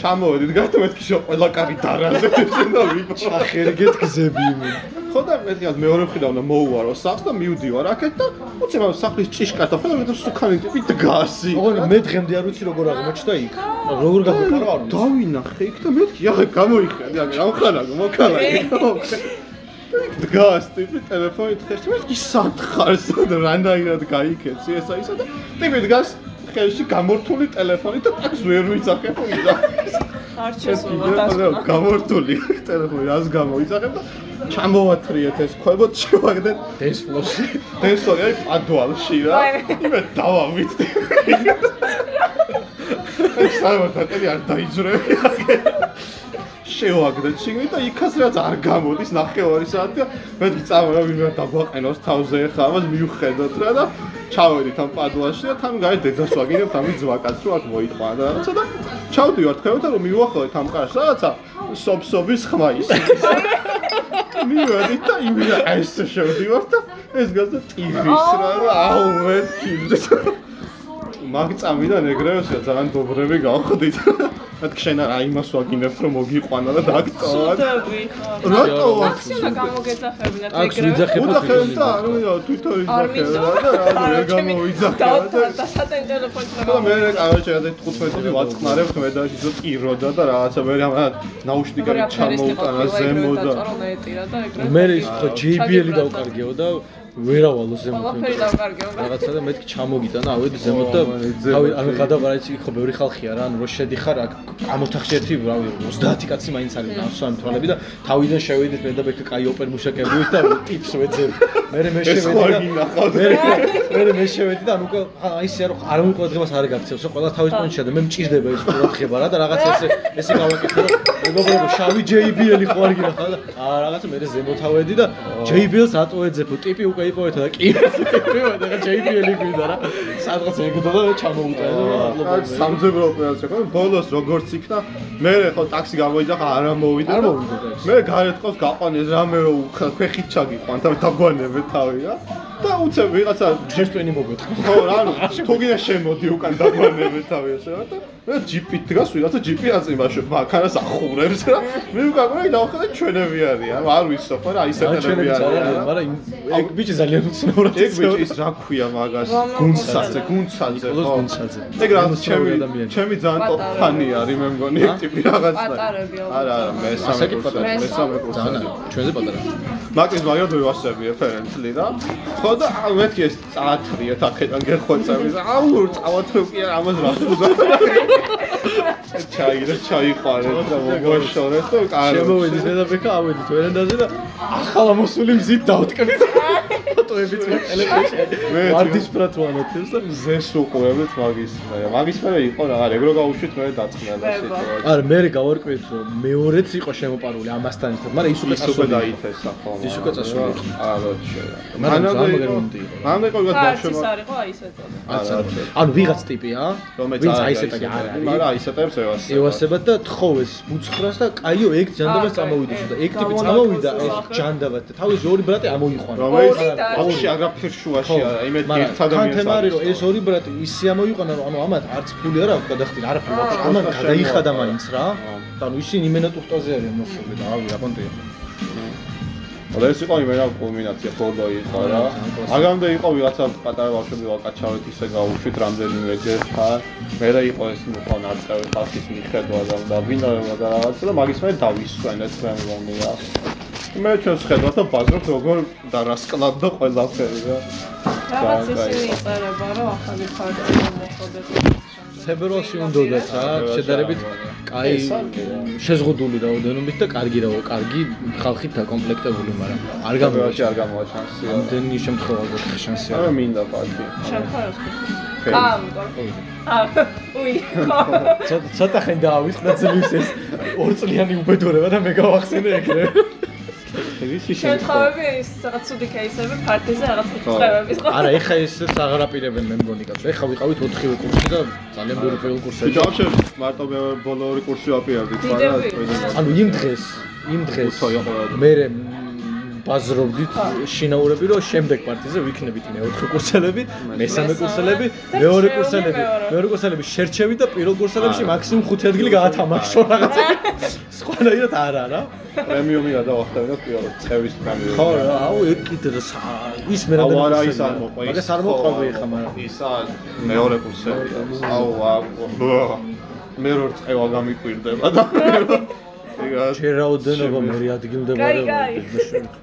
ჩამოვედით გათმეთქი შო ყველა კარი დარაზე და ვიფრთხილ
ხერგეთ გზები იმენ.
ხო და მე თქვა მეორე მხრიდან უნდა მოუვარო სახლს და მივდივარ აქეთ და უცებ ამ სახლის ჭიშკა და ხოლმე და სუქანი ტიპი დგას იქ.
ოღონდ მე დღემდე არ ვიცი როგორ აღმოჩნდა იქ. როგორ
და
გაგუყარო არ ვიცი.
დავინახე იქ და მეთქი აა გამოიხედი აქ რა ხარ აქ მოკალა (laughs) იქ. დგას ტიპი ტელეფონით ხერში მეთქი სად ხარ სად რანაირად გაიქეცი ესა ისა და ტიპი დგას ხელში გამორთული ტელეფონით და ტაქს ვერ ვიძახებ ვიზა.
არ
კიდევ
შესულა დასკვნა.
გამორთული ტელეფონი რას გამოიძახებ და ჩამოვათრიეთ ეს ქვებოთ შევაგდეთ
ეს ფლოში.
დენსორი არის პადვალში რა.
ვაიმე.
იმე დავამიწდი. საერთოდ დაკერი არ დაიჯრები. შევაგდეთ შიგნით და იქაც რაც არ გამოდის ნახევარი საათი და მეთქი წავა ვინმე დაგვაყენოს თავზე ხა ამას მივხედოთ რა და ჩავედით ამ პადვალში და თან გაი დედას ვაგინებთ ამი ძვაკაც რო აქ მოიყვანა და რაღაცა და ჩავდივართ ხევთ რომ მივახოვეთ ამ კარს რაღაცა სოფსობის ხმა ისე მივედით და იმენა ეს შევდივარ და ეს გაზა ტივის რა რა აუვეთ ქილზე მაგწამიდან ეგრევესა ძალიან dobrები გავხდით მეთქ შენ არა იმას ვაგინებ რომ მოგიყვანა და დაგწავად
სუდები.
რა
აქ შეიძლება
ტოვარ
გამოგეძახებინათ
აქ
ეგრევე.
ვიძახებ
უძახებ და არ მივიდა თვითონ
არ
იძახებ რა (laughs) და რა
(laughs)
ვერ გამოიძახე რა და
და სატენ ტელეფონს რა
და მე კაროჩე რა 15-ი ვაწყნარებ მედაში ზო ტიროდა და რაღაცა მე რა ნაუშნიკები ჩამოუტანა ზემო და
წორომეტირა და ეგრევე.
მე ის ხო JBL-ი დავკარგეო და ვერავალო ზემოთ.
ყველაფერი დავკარგეო.
რაღაცა და მეთქი ჩამოგიტანა, ავედი ზემოთ და
ო, ზემოთ,
თავი ანუ
ე.
გადავარ იცი ხო ბევრი ხალხია რა, ანუ რო შედიხარ აქ ამ ოთახში ერთი რავი 30 კაცი მაინც არის ნავსან თვალები და თავიდან შევედით მე და ბექა კაი ოპერ მუშაკები (laughs) და ტიპს ვეძებ. მე მე
ეს ხო არ
შევედი და
გინახავთ
მე მე მე შევედი და ანუ უკვე აა, ისე რომ არ მიყოდებას არ გაქცევს, რომ ყველა თავის პონჩია და მე მჭირდება ეს ყურადღება რა და რაღაცა ესე ესე გავაკეთე რომ მეგობრებო შავი JBL-ი ხო არ გინახავ და აა რაღაცა მე ზემოთავედი და JBL-ს ატოეძებო, ტიპი უკვე იპოვეთ და კი ტიპი და JBL-ი გვიდა რა. სადღაც ეგდო და ჩამოუტანა და
კაც
მადლობა.
სამძებრო ოპერაცია ხო ბოლოს როგორც იქნა მე ხო ტაქსი გამოიძახა არ ამოვიდა
არ
და
მოვიდა ტაქსი.
მე გარეთ ყავს გაყვანეს რამე რო უხა ფეხით ჩაგიყვან და დაგვანებე თავი რა და უცებ ვიღაცა
შეშტვენი მოგეთქვა.
ხო
(laughs)
რა ანუ თუ გინდა შემოდი უკან დაგვანებე თავი ასე რა და მე ჯიპით დგას ვიღაცა ჯიპი აწიმაშო მაქანას ახურებს რა მე უკან გული დავხედე ჩვენები არიან ანუ არ ვიცი ხო რა ისეთები
ჩენები
არიან
ძალიან,
რა.
მაგრამ იმ- ეგ ბიჭი ძალიან უცნაურად
ეგ ბიჭი ის რა ქვია მაგას გუნცაძე გუნცაძე
ნიკოლოზ
ხო
გუნცაძე.
ეგ რა ჩემი
უცნაური ადამიანი.
ჩემი ძალიან ტოპ
პატარა.
ფანი არის მე მგონი ეგ ტიპი რაღაცა
პატარები, ალბათ.
არა არა მესამე
ასაკი
კურსზე
პატარა.
მესამე
ძალიან
კურსზე
ჩვენზე პატარა.
მაკის მაგარ დავასწრები რეფერენტლი რა ხო ხო და აა, მეთქი ეს წაათრიათ აქედან გერხვეწები აუ წავათრე კი არა ამას რა
(laughs)
ხდება ჩაიგრეს ჩაიყვანეს და მოგოშორეს და კარგი
შემოვედი ზედაფრიკა, ავედით ვერანდაზე და ახალა მოსული მზით დავტკბით. ფოტოებიც
მე
ტელეფონში. ვარდის ბრატვანებს და
ზეს უყურებით მაგის მე- მაგის მე იყო რა ეგრო გავუშვით მე დაწყნა და
ვება.
სიტუაცია
არა, მე გავარკვიეთ, რომ მეორეც იყო შემოპარული ამასთან ერთად, მაგრამ ის უკვე
ის უკვე
წასულა.
დაითესა ხოლმე
ის უკვე წასული იყო.
არა შეიძლება
მაგრამ ძალიან მომენტი იყო.
მანამდე იყო
და ის
ბავშვობა
არ იყო აისეთო.
არც არა. ანუ ვიღაც ტიპია,
რომელიც
ვინც
არა
აი ესეთაი არ არის.
მაგრამ აისეტებს ევას
ევასებად და თხოვეს ბუცხრას და კაიო ეგ ჯანდაბას
აა,
წამოვიდეს
კაი,
და
ეგ
ეგ ტიპი
გამონათოს
წამოვიდა ეს
სახე.
ჯანდაბად და თავის ორი ბრატი ამოიყვანა.
რომელიც
ორი და-
ბავში აგრაფირშუაში არა იმედ
მაგრამ
ერთად
თან თემა არის რომ ეს ორი ბრატი ისე ამოიყვანა რომ ანუ ამათ არც ფული არა აქვს გადახდილი არაფერი
აა.
აქვს ამან
შემოაყარა.
გადაიხადა მაინც რა
აა.
და ანუ ისინი იმენად უხტაზე არიან მოსული და ავი რა კონტია
და ეს იყო იმენა კულმინაცია ბოლო იყო რა
აა, კლასიკა.
მაგამდე იყო ვიღაცა პატარა ბავშვები ვაკაჩავეთ ისე გავუშვით რამდენიმე ჯერთან მე რა იყო ეს მუხა ნაწევი ხალხის მიხედვა და დავინავება და რაღაცა და მაგის მე დავისვენეთ რა მგონი რა მე ჩვენს ხედავთ და ბაზრობთ როგორ და რა სკლავდა ყველაფერი რა
რაღაც
ძალიან
ისინი
კაი.
იწერება რომ ახალი ფარტი მოხდება.
თებერვალში უნდათ რა შედარებით კაი
ეს არის.
შეზღუდული რაოდენობით და კარგი რა კარგი ხალხით დაკომპლექტებული მაგრამ არ
გამოვაჩი
გამოიჩა
არ გამოაჩანს რა
ამდენი შემთხვევა გვაქვს შანსი
არა
არა
მინდა პარკი
შევხაროს.
ფერი.
აა, მგონი. (laughs) აა, უი.
(laughs)
ცოტა ცოტა ხენ დაავიწყდა ძლივს ეს ორწლიანი უბედურება და მე გავახსენე ეგრე.
ვისი
შემთხვევები ის რაღაც ცუდი кейსები ფარტიზე რაღაც ხწყებების ხო?
არა, ეხა ესეც აღარ აპირებენ მე მგონი კაცო. ეხა ვიყავით 4-ვე კურსი და ძალიან ბევრი კურსი.
ბიჭო შე მარტო მე ბოლო ორი კურსი ვაპირებდით
დიდები.
ანუ იმ დღეს, იმ დღეს
უცო იყო რა.
მე ბაზრობდით შინაურები რომ შემდეგ პარტიზე ვიქნებით მეოთხე კურსელები, მესამე კურსელები, მეორე კურსელები, მეორე კურსელები შერჩევი და პირველ კურსელებში მაქსიმუმ 5 ადგილი გაათამაშო (laughs) რაღაცა. სხვანაირად არა რა.
პრემიუმი გადავახტევი და პირველ წევის პრემიუმი
ხო რა, აუ ეგ კიდე რა სა- ის მე
აუ
რამდენი
არა
კურსელია.
ის არ მოყვე
მაგას არ მოყვები ხა მაგრამ
ისა მეორე კურსი აუ აუ მე როარ წევა გამიკვირდება და მე რო- (laughs) ეგ რა
ჯერ რაოდენობა მე ადგილდებარე
კაი, კაი.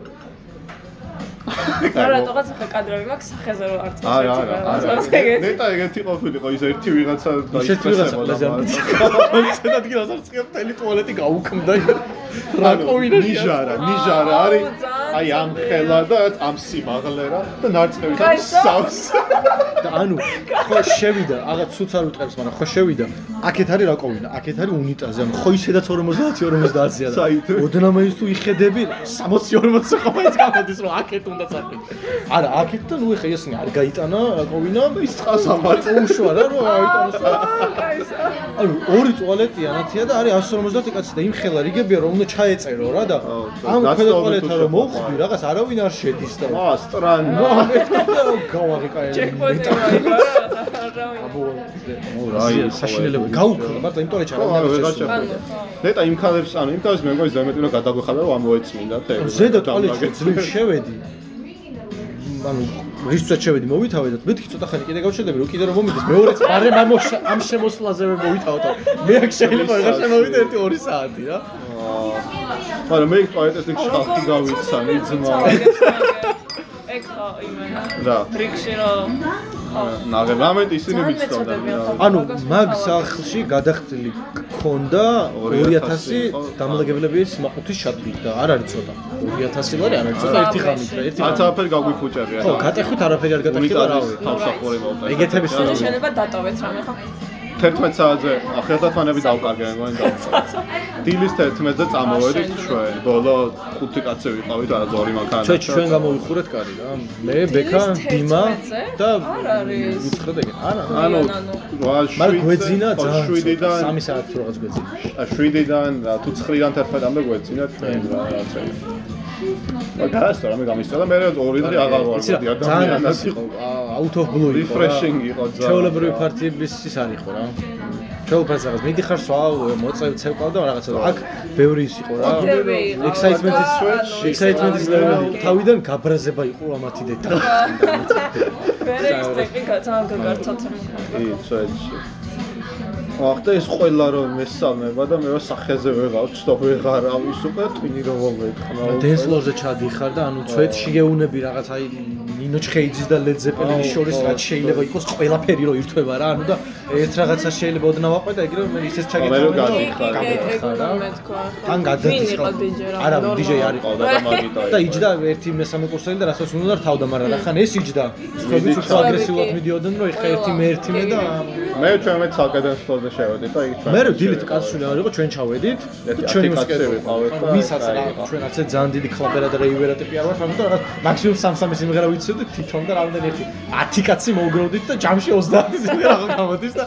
არა, რატოღაც ხა კადრები მაქვს სახეზე რომ არც
არა არა არა
ეგეც.
ნეტა ეგეთი ყოფილიყო ის ერთი ვიღაცა
ისეთ ვიღაცა ყველაზე არ მიცხრა ისეთ ადგილას არ წიებ თელი ტუალეტი გაუქმდა რაკოვინაში
ნიჟარა ნიჟარა
აუ,
არის
ძალიან
აი ამ
ცოტა.
ხელა და ამ სიმაღლე რა და ნარწევი
კაი, სა-
სავს
და ანუ ხო შევიდა რაღაც ცუც არ ვიტყებს მაგრამ ხო შევიდა აქეთ არის რაკოვინა აქეთ არის უნიტაზი ანუ ხო ისედაც 50-50-ია და
საითო.
ოდნავ ის თუ იხედები 60-40 ხომაც გამოდის რომ აქეთ უნდა წახვიდე არა აქეთ და ნუ ეხა ისინი არ გაიტანა რაკოვინა ის
წყალს ამბატო
უშვა რა რომ აიტანოს და
კაისა.
ანუ ორი ტუალეტია ნათია და არის 150 კაცი და იმ ხელა რიგებია რომ უნდა ჩაეწერო რა და
აუ,
ამ
დაცდა
ქვედა
უნდა
ტუალეტა
თუ
რომ
შეხვდა.
მოვხვდი რაღაც არავინ არ შედის და
აა სტრანო
გავაღეკა
ჩეკპოინტი მაიყო რა. რა ვინ.
რა საშინელება გაუქრა მარტო იმიტომ რომ
ხო, არა, ვეღარ
ჩარავდა
შეხვდა. ნეტა იმ ქალებს, ანუ იმ ქალებს მე მგონი ზემეტი რომ გადაგვეხადა რომ ამოეწმინდათ ეგ.
ზედა ტუალეტში ძლივ შევედი მ, ანუ რისწვეთ შევედი მოვითავე და მეთქი ცოტა ხანი კიდე გავშედები რომ კიდე რომ მომიდეს (laughs) მეორეც არე ამ ამ შემოსვლაზე მე მოვითავდა მე აქ შეიძლება ვეღარ შემოვიდე 1-2 საათი რა
აა, მაგრამ მე ტუალეტეს იქ შახტი გავიცან იძმა
ეგ ხო იმენა.
და
რიგში რომ ხო.
ნაღებ რამეთ ისინი
ძალიან
ვიცოდნენ.
მეწოდებიან ხო.
ანუ
მაგას
მაგ
ვთავაზობ.
სახლში გადახდილი გქონდა
2000
2000 დამლაგებლების მაყუთის შატლი და არ არის ცოტა 2000 ლარი არ არის ცოტა ერთი ღამით რა ერთი
არც
ღამით.
არაფერი გაგვიფუჭები
ხო გატეხოთ არაფერი არ გატეხება რა
უნიტარის
ვიცი
თავსახურება უტა.
ეგეთების
მე
სულ.
შეიძლება დატოვეთ რამე ხო?
11 საათზე ახერდათმანები დავკარგენ მგონი დავკარგენ. დილის 11-ზე წამოვედით ჩვენ. ბოლო 5 კაცი ვიყავით, არა ზორი მანქანა.
ჩვენ ჩვენ გამოვიხურეთ კარი რა მე ბექა
დილის
დიმა
11-ზე?
და
არ არის.
უცხოდ ეგ არა არა.
ანუ 8
მაგრამ გვეძინა ძალიან
7-დან
3 საათი თუ რაღაც გვეძინა
7-დან თუ 9-დან 11-მდე გვეცინა ჩვენ რა რაღაცა. მაგას რა მე გამისტოდა მე ორი დღე აღარ ვარ
იცი რა,
მოდი
ძალიან
ადამიანად
ის იყო out of blue იყო რა.
Refreshing იყო ძალიან.
ჩვეულებრივი პარტიების ის არ იყო რა ჩვეულ პარტიებს მიდიხარ სვავ მოწევ ცევკავ და რაღაცა და აქ ბევრი ის იყო რა
დები იყო.
excitement-ის
ანუ
excitement-ის
იყო.
ლეველი თავიდან გაბრაზება იყო რა მათი დედა
მე ის ტექნიკა ძალიან გაგარცოცე.
იცოეთში. ახლა ეს ყველა რომ მესამება და მე რა სახეზე ვეღარ ვცდო ვეღარ ავის უკვე ტვინი რომ მომეკხნა უკვე.
დენსლოზე ჩადიხარ და ანუ ცვეთ შიგეუნები რაღაც აი ნინო ჩხეიძის და ლედ ზეპელინის
აუ,
შორის
ხო,
რაც შეიძლება იყოს ყველაფერი რო ირთვება რა ანუ და ერთ რაღაცა შეიძლება ოდნავაყვე და იგივე მე ისეც
მე რო
ჩაგეთხოვე
გადი-
და ან გადადიხარ არა დიჯეი არის
ყავდა და მაგიტა იყო.
(laughs) და იჯდა ერთი მესამე კურსელი და რასაც უნდა რთავდა, მაგრამ რახან ეს იჯდა. ხმები უფრო
ხმები
აგრესიულად
კი.
მიდიოდნენ, რომ ეხა ერთი მე ერთი მე და
მე ჩვენმე საკადასტროზე შევედი და იქ ჩვენ
მე რომ დილით კაცსული არ იყო, ჩვენ ჩავედით. და
ერთი
ჩვენი
ათი კაცი
მოსკედო
ვიყავით და
მისაც რა,
აი, იყო.
ჩვენ ასე ძალიან დიდი ხლაბერა და რეივერა ტიპი არ ვართ, ამიტომ რაღაც მაქსიმუმ სამ-სამი სიმღერა ვიცოდით თვითონ და რამდენი ერთი 10 კაცი მოვგროვდით და ჯამში 30 სიმღერა აღარ გამოდის და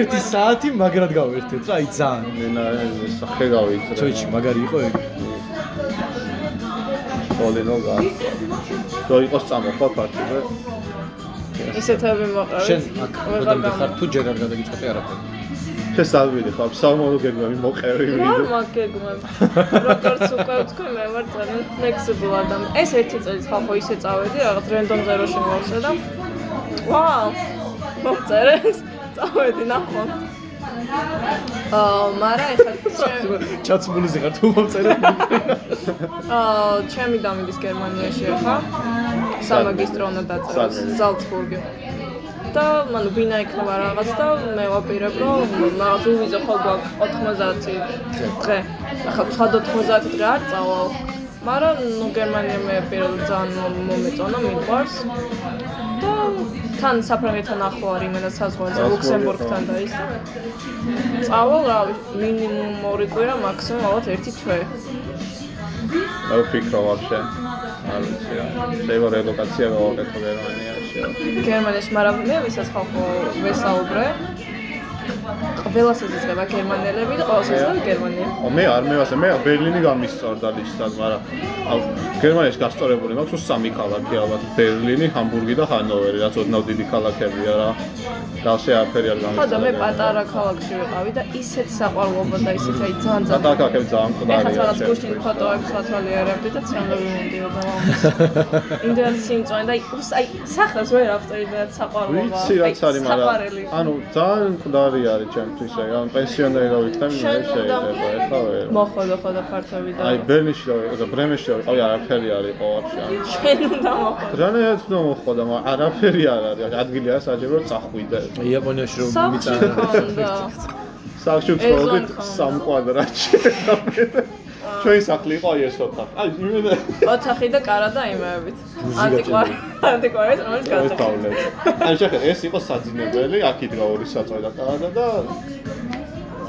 1 საათი მაგრად გავერთეთ რა, აი ძალიან.
მენა ეს სახე გავიწერე.
თოიჩი მაგარი იყო ეგ.
სოლენო გა. და იყოს წამოხვა პარტიზე.
ისეთები მოყავით.
შენ აქ როდემდე ხარ თუ ჯერ არ გადაგიწყდი არაფერი.
ეს ალბილი ხარ სამომავლო გეგმები მოყევი ვიდეო.
რა გეგმებ? როგორც უკვე ვთქვი, მე ვარ ძალიან flexible ადამი. ეს ერთი წელი ხალხო ისე წავედი, რაღაც რენდომზე რო შემოვსე და ვაუ, მომწერე ეს. (laughs) წავედი ნახო. აა, მარა ეხლა (laughs) ჩემ-
ჩაცმული ზიღარ თუ მომწერე.
აა, ჩემი დამიდის გერმანიაში ახლა. სამაგისტრო უნდა დაწეროს
სადმე?
ზალცბურგი. და მან ბინა იქნება რაღაც და მე ვაპირებ რომ რაღაც უვიზო ხო გვაქვს 90 დღე. ახლა სხვა 90 დღე არ წავალ. მაგრამ ნუ გერმანია მე პირველ ძალიან მომეწონა მიყვარს. და თან საფრანგეთთან ახლო არის იმენა საზღვარზე
ახლო,
ლუქსემბურგთან და ის და წავალ რა ვიცი, მინიმუმ 2 კვირა მაქსიმუმ ალბათ 1 თვე.
მე ვფიქრობ ვაფშე. არ ვიცი რა. შეიძლება რელოკაცია გავაკეთო გერმანიაში. რა.
გერმანიაში, მაგრამ მე ვისაც ხალხო ვესაუბრე. ყველას ეძება გერმანელები და ყველას ეძება გერმანია.
ო, მე არ მევასე, მე ბერლინი გამისწორდა ლისტად, მაგრამ ავ, გერმანიაში გასწორებული მაქვს უს სამი ქალაქი ალბათ, ბერლინი, ჰამბურგი და ჰანოვერი, რაც ოდნავ დიდი ქალაქებია რა. დალშე აფერი არ
ხო და
გამისწორდა.
მე პატარა ქალაქში ვიყავი და ისეთ საყვარლობა და ისეთ აი ძალიან
პატარა
ძალიან
ქალაქები ძალიან მყდარია.
ეხლა სადაც გუშინ ფოტოებს ვათვალიერებდი და ცნობები მომდიოდა მომს.
(laughs)
იმდენად სიმწონე და აი, უს აი სახელს ვერ ავწერი და საყვარლობა.
ვიცი რაც
აი,
არის, მაგრამ
საყვარელი.
ანუ ძალიან მყდარი არის ჩემთვის ეგ, ანუ პენსიონერი რომ ვიქნები, მე
შენ უნდა
შეიძლება ეხლა ვერ.
მოხოდო ხო და ფართები და
აი ბერლინში და და ბრემენში და ვიყავი, არაფერი არ იყო ვაფშე.
შენ უნდა მოხოდო.
რანაირად უნდა მოხდა, მაგრამ არაფერი არ არის. ადგილი არ საჭირო რომ წახვიდე.
იაპონიაში რომ
სახლში მქონდა.
(laughs) სახლში
ეზლან
ვცხოვრობდით
ქონდა.
სამ კვადრატში. ჩვენი სახლი იყო აი ეს ოთახი. აი იმენა
ოთახი და კარა და იმეებით. ანტიკვარი, ანტიკვარი, რომელიც
ეს
გადაწყვეტა.
ტაულეტი. აი შეხე ეს იყო საძინებელი, აქ იდგა ორი საწვედა კადა და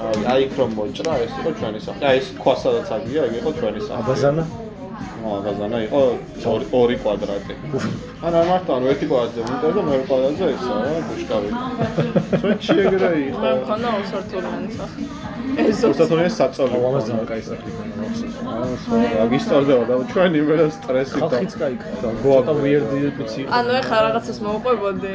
აი, აი იქ რომ მოჭრა, ეს იყო ჩვენი სახლი. აი ეს ქვა სადაც აგია, ეგ იყო ჩვენი სახლი.
აბაზანა
აა, აბაზანა იყო ორი- ორი კვადრატი. ან არ მარტო ანუ ერთი კვადრატზე მიტევს და მეორე კვადრატზე ესა რა, ბუშკავი. სვეჩი ეგრე იყო.
მე მქონდა უსართულიანი სახე. ეს ზუსტად
უსათოეს საწოლი.
ლამაზ ძალიან საქმეა
აგისტორდება და ჩვენ იმენა სტრესით და
ხალხიც გაიქცა გოაკა ვიერდი პიცი იყო
ანუ ეხლა რაღაცას მოუყვებოდი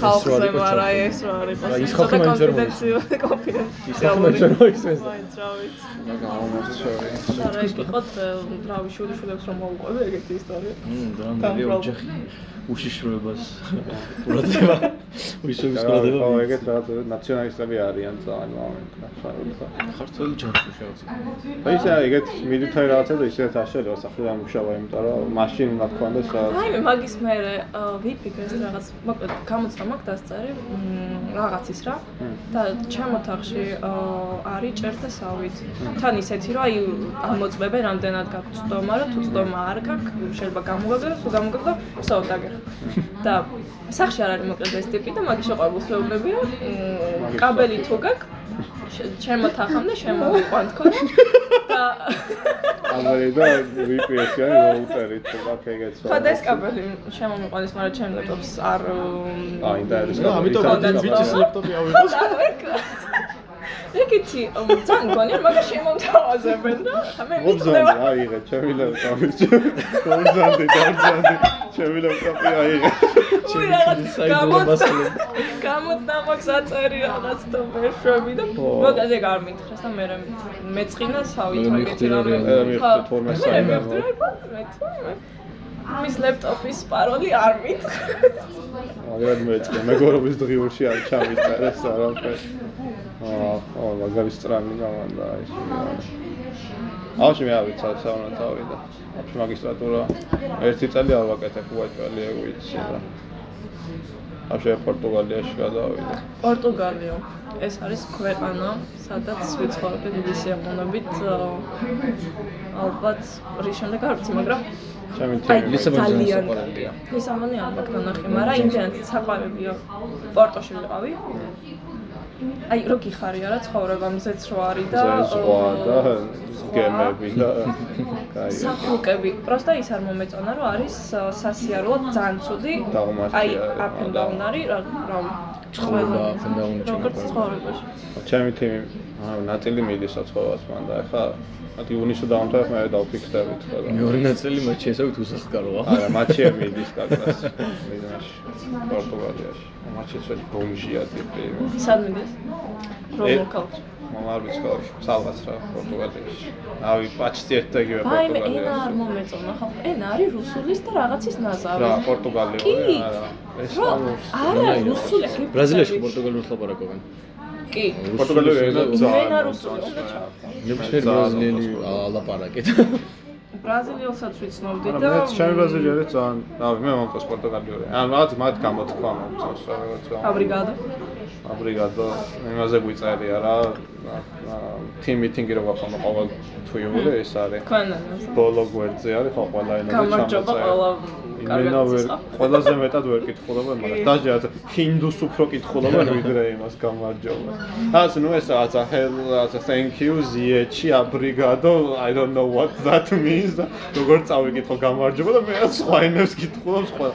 ხალხზე,
იყო
მაგრამ
ჩართული.
ეს რა არ იყო.
რა, ის ხალხი მაინც ვერ მოდის. მაინც ვერ
კონფიდენციალური.
მოიხსენს.
მაინც რა ვიცი.
გამომორჩევი.
და რა იყოთ რავი შვილიშვილებს რომ მოუყვები ეგეთი ისტორია.
რამდენი ოჯახი უშიშროებას ყურადღება ვისების
ხო,
ყურადღება
ეგეთ რაღაც ნაციონალისტები არიან ძალიან მომენტ.
ქართველი ჯანსაღი შეიძლება
და ისე ეგეთ მილიტარი რაღაცები ისეთ აშელო სახლი ამუშავა, იმიტომ რომ მაშინ უნდა გქონდეს რაღაც
აი მე მაგის მერე აა, ვიფიქრე ეს რაღაც მოკლედ გამოცდა მაქვს დასწარი მ, რაღაცის რა და ჩემ ოთახში აა, არის ჭერს და სავით თან ისეთი რომ აი ამოწმებე რამდენად გაგწდომა რა თუ წდომა არ გაქვს შეიძლება გამოგაგრა თუ გამოგაგრა ვსაუბრ დაგერა და სახში არ არის მოკლედ ეს ტიპი და მაგის შეყვარებულს ვეუბნები რომ მ, კაბელი თუ გაქვს შე- ჩემ ოთახამდე შემოვიყვანთქო და
აბარი და VPN-ი არის როუტერით და მაგ ეგეთ
ხო და ეს კაბელი შემომიყვანეს, მაგრამ ჩემ ლეპტოპს არ მ,
აი და არის
და ამიტომ
კაბელი.
ვიცის ლეპტოპი ავიღო
ეგეთი ამ, ძალიან გონია, მაგრამ შემომთავაზებენ და მე
გობზანი
მიწდება.
აიღე, ჩემი ლეპტოპი. გობზანი, გობზანი, ჩემი ლეპტოპი აიღე.
უი რაღაც
საიდუმლო მასალები.
გამოცდა გამოცდა მაქვს აწერი რაღაც და ვერ შვები და მოგაზე გამითხრეს და მე რა მითხრა. მეწყინა სავით
მე
მაგეთი
მივხვდი რა
რამე.
რეალურად.
მე მივხვდი, თორმე საიდან
მე მივხვდი, რა იყო? მე თორმე. მის ლეპტოპის პაროლი არ მითხრა.
მაგრამ მეწყე მეგობრობის დღიურში არ ჩამიტყარ ეს არაფერი. აა, ო, მაგარი სტრანი გამანდა ის. აუში მე არ ვიცი საუნა წავიდა. აფში მაგისტრატურა ერთი წელი არ ვაკეთებ უაჭველი ეგ ვიცი და. აფში პორტუგალიაში გადავიდა.
პორტუგალიო. ეს არის ქვეყანა, სადაც ვიცხოვრები დიდი სიამოვნებით. აა, ალბათ რის შემდეგ არ ვიცი, მაგრამ
ჩემი
აი,
თემი.
ლისაბონი ძალიან
ძალიან
საყვარელია.
კარგია. ლისაბონი ალბათ განახი, მაგრამ იმდენად საყვარელია პორტოში ვიყავი. აი, რო გიხარია რა ცხოვრება, მზეც რო არის და
ზღვა და
აა, ზღვა.
გემები და კაი.
საფუკები. პროსტა ის არ მომეწონა, რომ არის აა, სასიარულო ძალიან ცუდი.
დაღმართი
აი,
არის,
up and down არის, რა რა ვიცი.
ცხოვრება up and down-ში
როგორც
ნაგვარია.
ცხოვრებაში.
ჩემი თემი აა, ნატელი მიდის საცხოვრებას მან და ახლა მათი ივნისში დავამთავრებ მე დავფიქსდებით ხოლმე.
მეორე ნაწილი მათში ესავით უსახკაროა.
არა, მატჩია მიდის კაკას. მიდანში. პორტუგალიაში. მატჩიც ველი ბომჟია ტიპი.
სად მიდის?
ე-
რომელ ქალაქში?
მამა არ ვიცი რა, სალვაც რა პორტუგალიაში. ავი პაჩტი ერთდაგივე
ვაიმე, ენა არ
პორტუგალიაში.
მომეწონა ხო? ენა არის რუსულის და რაღაცის
რა,
ნაზავი.
პორტუგალიური
კი.
არა. ეს
რა,
ამოს
არა, რუსული.
ბრაზილიაში პორტუგალურს ლაპარაკობენ.
კი.
პორტუგალიური ენა
მე
ძალიან
ნა რუსული, უნდა
ნებისმიერ ბრაზილიელი აა, ლაპარაკით.
ბრაზილიელსაც ვიცნობდი
არა,
და
მე ჩემი ბრაზილიელი ძალიან, რავი, მე მომწონს პორტუგალიური. ან რაღაც მათ გამოთქვა მომწონს რა რაღაც. რა.
აბრიგადო.
აბრიგადო იმაზე გვიწერი არა team meeting-ი რო გვაქვს ყოველ თვიური ეს არის
თქვენანაც.
ბოლო გვერდზე არის ხო ყველა ენა
გამარჯობა ყველა
იმენა
კარგად
ვერ
იცისყა.
ყველაზე მეტად ვერ კითხულობენ მაგრამ
კი.
დაჟე რაც ჰინდუს უფრო
(laughs)
კითხულობენ ვიდრე იმას გამარჯობა რაც ნუ ეს რაცა hell რაცა thank you ზიეჩი აბრიგადო i don't know what that means და როგორ წავიკითხო გამარჯობა და მე რა სხვა ენებს კითხულობ სხვა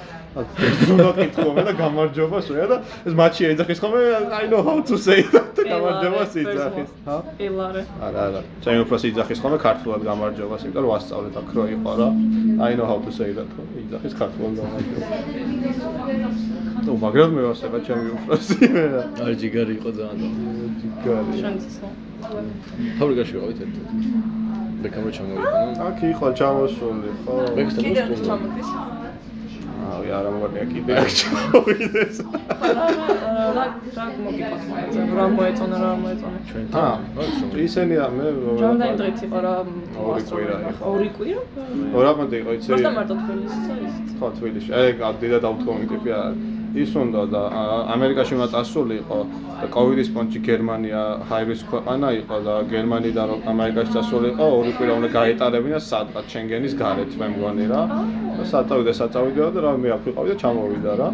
ზუნა კითხულობ და გამარჯობა შეა და ეს მათში ეძახის ხოლმე i know how to say that და გამარჯობას
ელარე,
ეძახის
ბერძნულად.
ჰა
ელარე.
არა არა ჩემი უფროსი იძახის ხოლმე ქართულად გამარჯობას იმიტომ რომ ასწავლეთ აქ რო იყო რა I know how to say that ხო, იძახის ქართულად გამარჯობას ну მაგრამ მე ვასება ჩემი უფროსი მე რა
არ ჯიგარი იყო ძალიან.
გარი
შენც
ფაბრიკაში ვიყავით ერთად. ბეკამრო ჩამოვიდა.
აქ იყო ჩამოსული ხო
ბექსთან
კიდევ
ვუსტუმ.
ჩამოდის.
აი არა მგონია კიდე აქ ჩამოვიდეს (laughs)
რა რა რა რა მოგიყავს მაგაზე? რა მოეწონა, რა მოეწონა.
ჩვენ
ა
თან.
ისენია მე
რამდენი დღით იყო რა
ორი კვირა იყო.
ორი კვირა?
ორამდე იყო იცი
просто მარტო თბილისისა ის.
ხო თბილისში აი გარდიდა დავთქვამი ტიპი არა ის უნდა და ა- ამერიკაში უნდა წასულიყო და კოვიდის პონჩი გერმანია ჰაირის ქვეყანა იყო და გერმანიდან რომ ამერიკაში წასულიყო ორი კვირა უნდა გაეტარებინა სადღაც შენგენის გარეთ მე მგონი რა და საწავიდა საწავიდა და რა მე აქ ვიყავი და ჩამოვიდა რა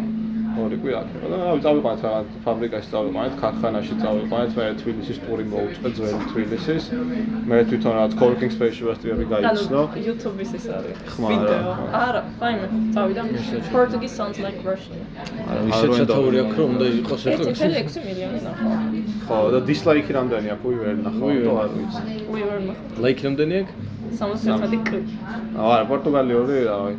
ორი კვირა აქ იყო და რა წავიყვანეთ რა ფაბრიკაში წავიყვანეთ ქარხანაში წავიყვანეთ მე თბილისის ტური მოვუწყე ძველი თბილისის მე თვითონ რა კორკინგ სპეისში ვასტიები
ანუ
გაიცნო
YouTube-ის ეს არის.
ხმა, რა,
ვიდეო.
ხმა.
არა, საიმე, წავიდა. Portuguese sounds like Russian.
არა
ისეთ სათაური აქვს რომ უნდა იყოს ერთად.
1.6 მილიონი ნახავ.
ხო და დისლაიკი რამდენი აქვს უი ვერ ნახავ
უი ვერ
და არ ვიცი
We were
ლაიკი რამდენი აქვს?
71 კ.
აა, არა პორტუგალიური რავი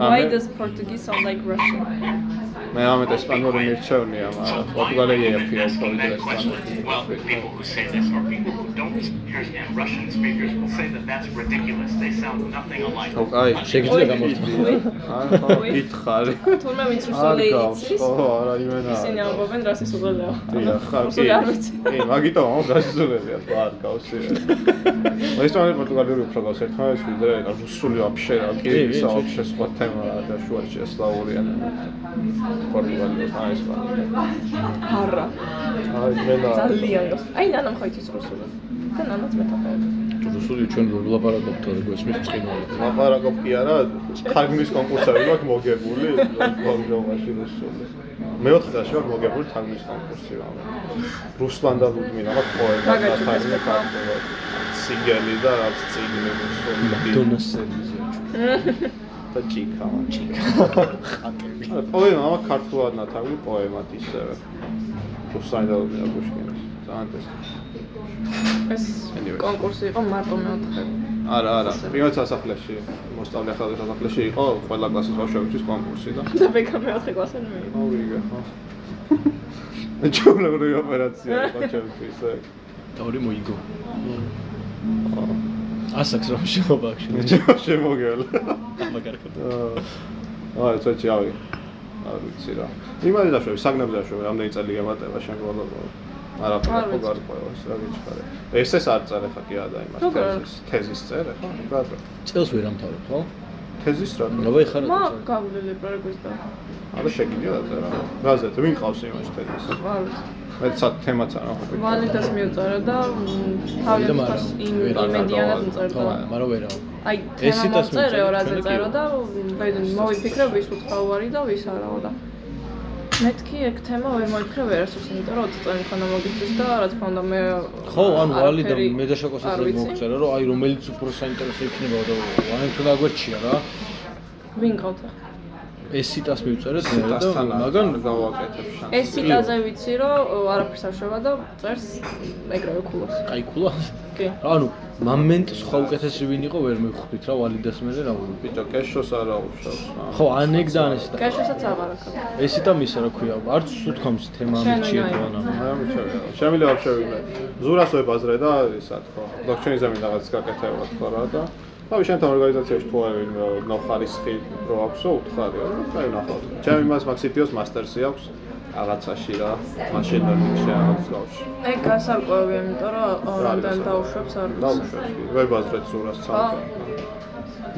Why does Portuguese sound like Russian?
მე ამეთ ესპანური მირჩევნია მაგრამ პორტუგალია ეფია უფრო ვიდრე
Well, people
ესპანური
who say this or people who don't understand Russian speakers will say that that's ridiculous. They sound nothing alike.
ხო კაი
შეგიძლია გამოსწორდეს.
არა ხო
უი.
გითხარი
თურმე ვინც
არ
რუსული
გავს
იცის?
ხო არა იმენა
ისინი ამბობენ რას ის უღელეო.
დიახ, ხა, კი.
რუსული არ ვიცი.
კი, მაგიტო, გასწორებია, თქო, არ გავსი. ესპანური პორტუგალიური უფრო გავს ერთმანეთს ვიდრე რა, რუსული ვაფშე რა, კი,
კი,
ისა
კი.
ვაფშე სხვა თემაა და შუაში ესლავური ან პორტუგალიური და ესპანური.
(laughs) არა.
აი, მე და
ძალიან გავს. აი ნანამ ხო იცის რუსული. და ნანაც მეთახა.
რუსული ჩვენ რომ ვლაპარაკობთ რა გვესმის წყინვალე.
ლაპარაკობ კი არა, თარგმნის კონკურსები მაქვს მოგებული, ბოლოში რუსული. მეოთხე წელს ვარ მოგებული თარგმნის კონკურსი რა. რუსლან და ლუდმილა მაქვს პოემა და
მაგაჩი
თარგმნი
გასაკეთებია.
ქართული. სიგელი და რაც წიგნი რუსული.
დონასელზე.
და ჭიქა ჭიქა ხატები პოემა მაქვს ქართულად ნათარგმნი პოემად ისევე რუსაიდალ აკუშკინის ძალიან ტესტი
ეს
Anyway.
კონკურსი იყო მარტო მეოთხე.
არა არა პირველ სასახლეში მოსწავლე ახალ სასახლეში იყო ყველა კლასის ბავშვებისთვის კონკურსი და
და ბეკა მეოთხე კლასთან მე.
აურიგა (laughs) ხო ჩაულებრი ოპერაცია იყო ჩემთვის ეგ.
თავი მოიგო.
აა,
ასაკს რომ შევობა აქშენ.
შემოგევალ.
მაგარად.
აა აი წეჩი ავი. არ ვიცი რა. იმაზე დაშვები, საგნებზე დაშვები, რამდენი წელი გამატება შენ გვალობა.
არ
არაფერი ხო
ვიცი.
გარკვევას, რა გიჩქარე. ეს ეს არ წერე ხა კი ადაიმას
როგორ?
თეზის, თეზის წერე ხო? რატო?
წელს ვერ ამთავრებ, ხო?
თეზის რატო?
რავი ხარ.
მა გავლილი პროექტი და
არა შეგიძლია დაწერა. რა. რაზეც ვინ ყავს იმას თეზის?
არ ვიცი.
მე სად თემაც არა ხო?
ვალიდას მიუწერა და მ, თავი
და
აფას
მაგრამ
იმ
ვერ
არ
იმედიანად
გადავალ.
ხო,
მწერდა.
მაგრამ ვერაო.
აი,
ეს
თემა
სიტას
მომწერეო,
მივწერთ,
რაზე
ჩვენი
წერო
კი.
და ბედნი მოვიფიქრე ვის უცხოური და ვის არაო და მეთქი ეგ თემა ვერ მოიფიქრე ვერასოდეს, იმიტომ რომ 20 წელი ხანა მოგიწვის და რა თქმა უნდა მე
ხო, ანუ
არაფერი
ვალი და მე და
არ
შაკოსაძე
ვიცი.
მოვწერა, რომ აი რომელიც უფრო საინტერესო იქნება და აი თუ დაგვერჩია რა.
ვინ გავთ ახლა?
ეს სიტას მივწერეთ მე და
დასთან
მაგან
მაგან გავაკეთებ შანსი.
ეს სიტაზე ვიცი რომ ო, არაფერს არ შევა და წერს ეგრევე ქულას.
კაი ქულა.
კი.
ანუ მომენტს სხვა უკეთესი ვინ იყო ვერ მივხვდით რა ვალიდას მე რა ვუყი.
ბიჭო, კეშოს არა უშავს. აა.
ხო, ანეგდან ეს და
კაშასაც აღარ აქვს.
ეს და მისა რა ქვია, არც სუთქამს თემა
შენ
ამიჩიეთ
ვინ
ვანა.
არა მიჩვენა. შემიძლია ვშევიმე. ზურას ვებაზრე და ისა თქო. ბლოკჩეინზე მინდა რაღაც გაკეთებო თქო რა და თავი შენთან ორგანიზაციაში თუ არა ვინმე ნახარისხი რო აქვსო უთხარიო და კაი ნახავთ. ჩემ იმას მაქსიპიოს მასტერსი აქვს რაღაცაში რა. მაშინ და მიქში რაღაც გავში.
ეგ გასარკვევია, იმიტომ რომ ო,
რა არის
რამდენი
გასარკვევი?
დაუშვებს არ
და
ვიცი.
უშავს კი. ვებაზრეთ ზურას
ხო.
სამი.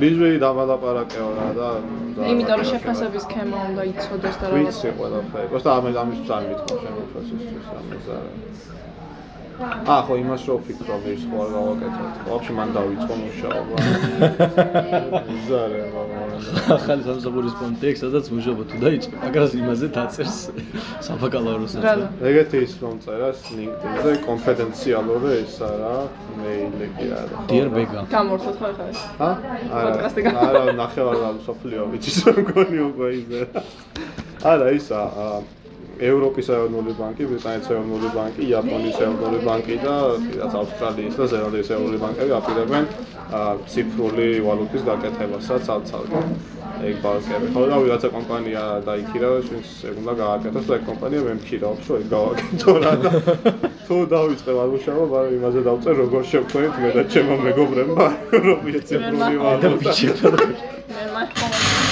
ლიზვი დამალაპარაკეო რა და და-
იმიტომ რომ შეფასების სქემა უნდა იცოდეს და რაღაც
ვიცი ყველაფერი. просто ამ ამის ძალიან მითხო შენ პროცესის ამის არა. აა ხო იმას რო ვფიქრობ ის ხო არ გავაკეთოთ. ვაფშე მან დავიწყო მუშაობა. ზარე მაგრამ.
ახალი სამსახურის კონტექსტ, სადაც მუშაობა თუ დაიწყო, აგრას იმაზე დაწერს საბაკალავრო
რა
საწყო.
და
ეგეთი ის რომ წერას LinkedIn-ზე კონფიდენციალური ეს არა მეილი კი არა.
დიერ ბეგა.
გამორთოთ ხო ახლა ეს?
ჰა?
პოდკასტი
არა,
გავა.
არა ნახევარ მსოფლიო ვიცის რა მგონი უკვე იზე. არა ისა აა, ევროპის ეროვნული ბანკი, ბრიტანეთის ეროვნული ბანკი, იაპონიის ეროვნული ბანკი და კიდაც ავსტრალიის და ზელანდიის ეროვნული ბანკები აპირებენ აა, ციფრული ვალუტის გაკეთებასაც ალცალკე. ეგ ბანკები. ხო და ვიღაცა კომპანია დაიქირა, შენს ეგ უნდა გააკეთოს და ეგ კომპანია მე მქირაობს, რომ ეგ გავაკეთო რა და თუ დავიწყე ვარუშავა, მაგრამ იმაზე დავწერ როგორ შევქმნით მე და ჩემო მეგობრებმა ევროპის ციფრული
და
ვალუტა.
ბიჭი და
მე მაიხმოვანე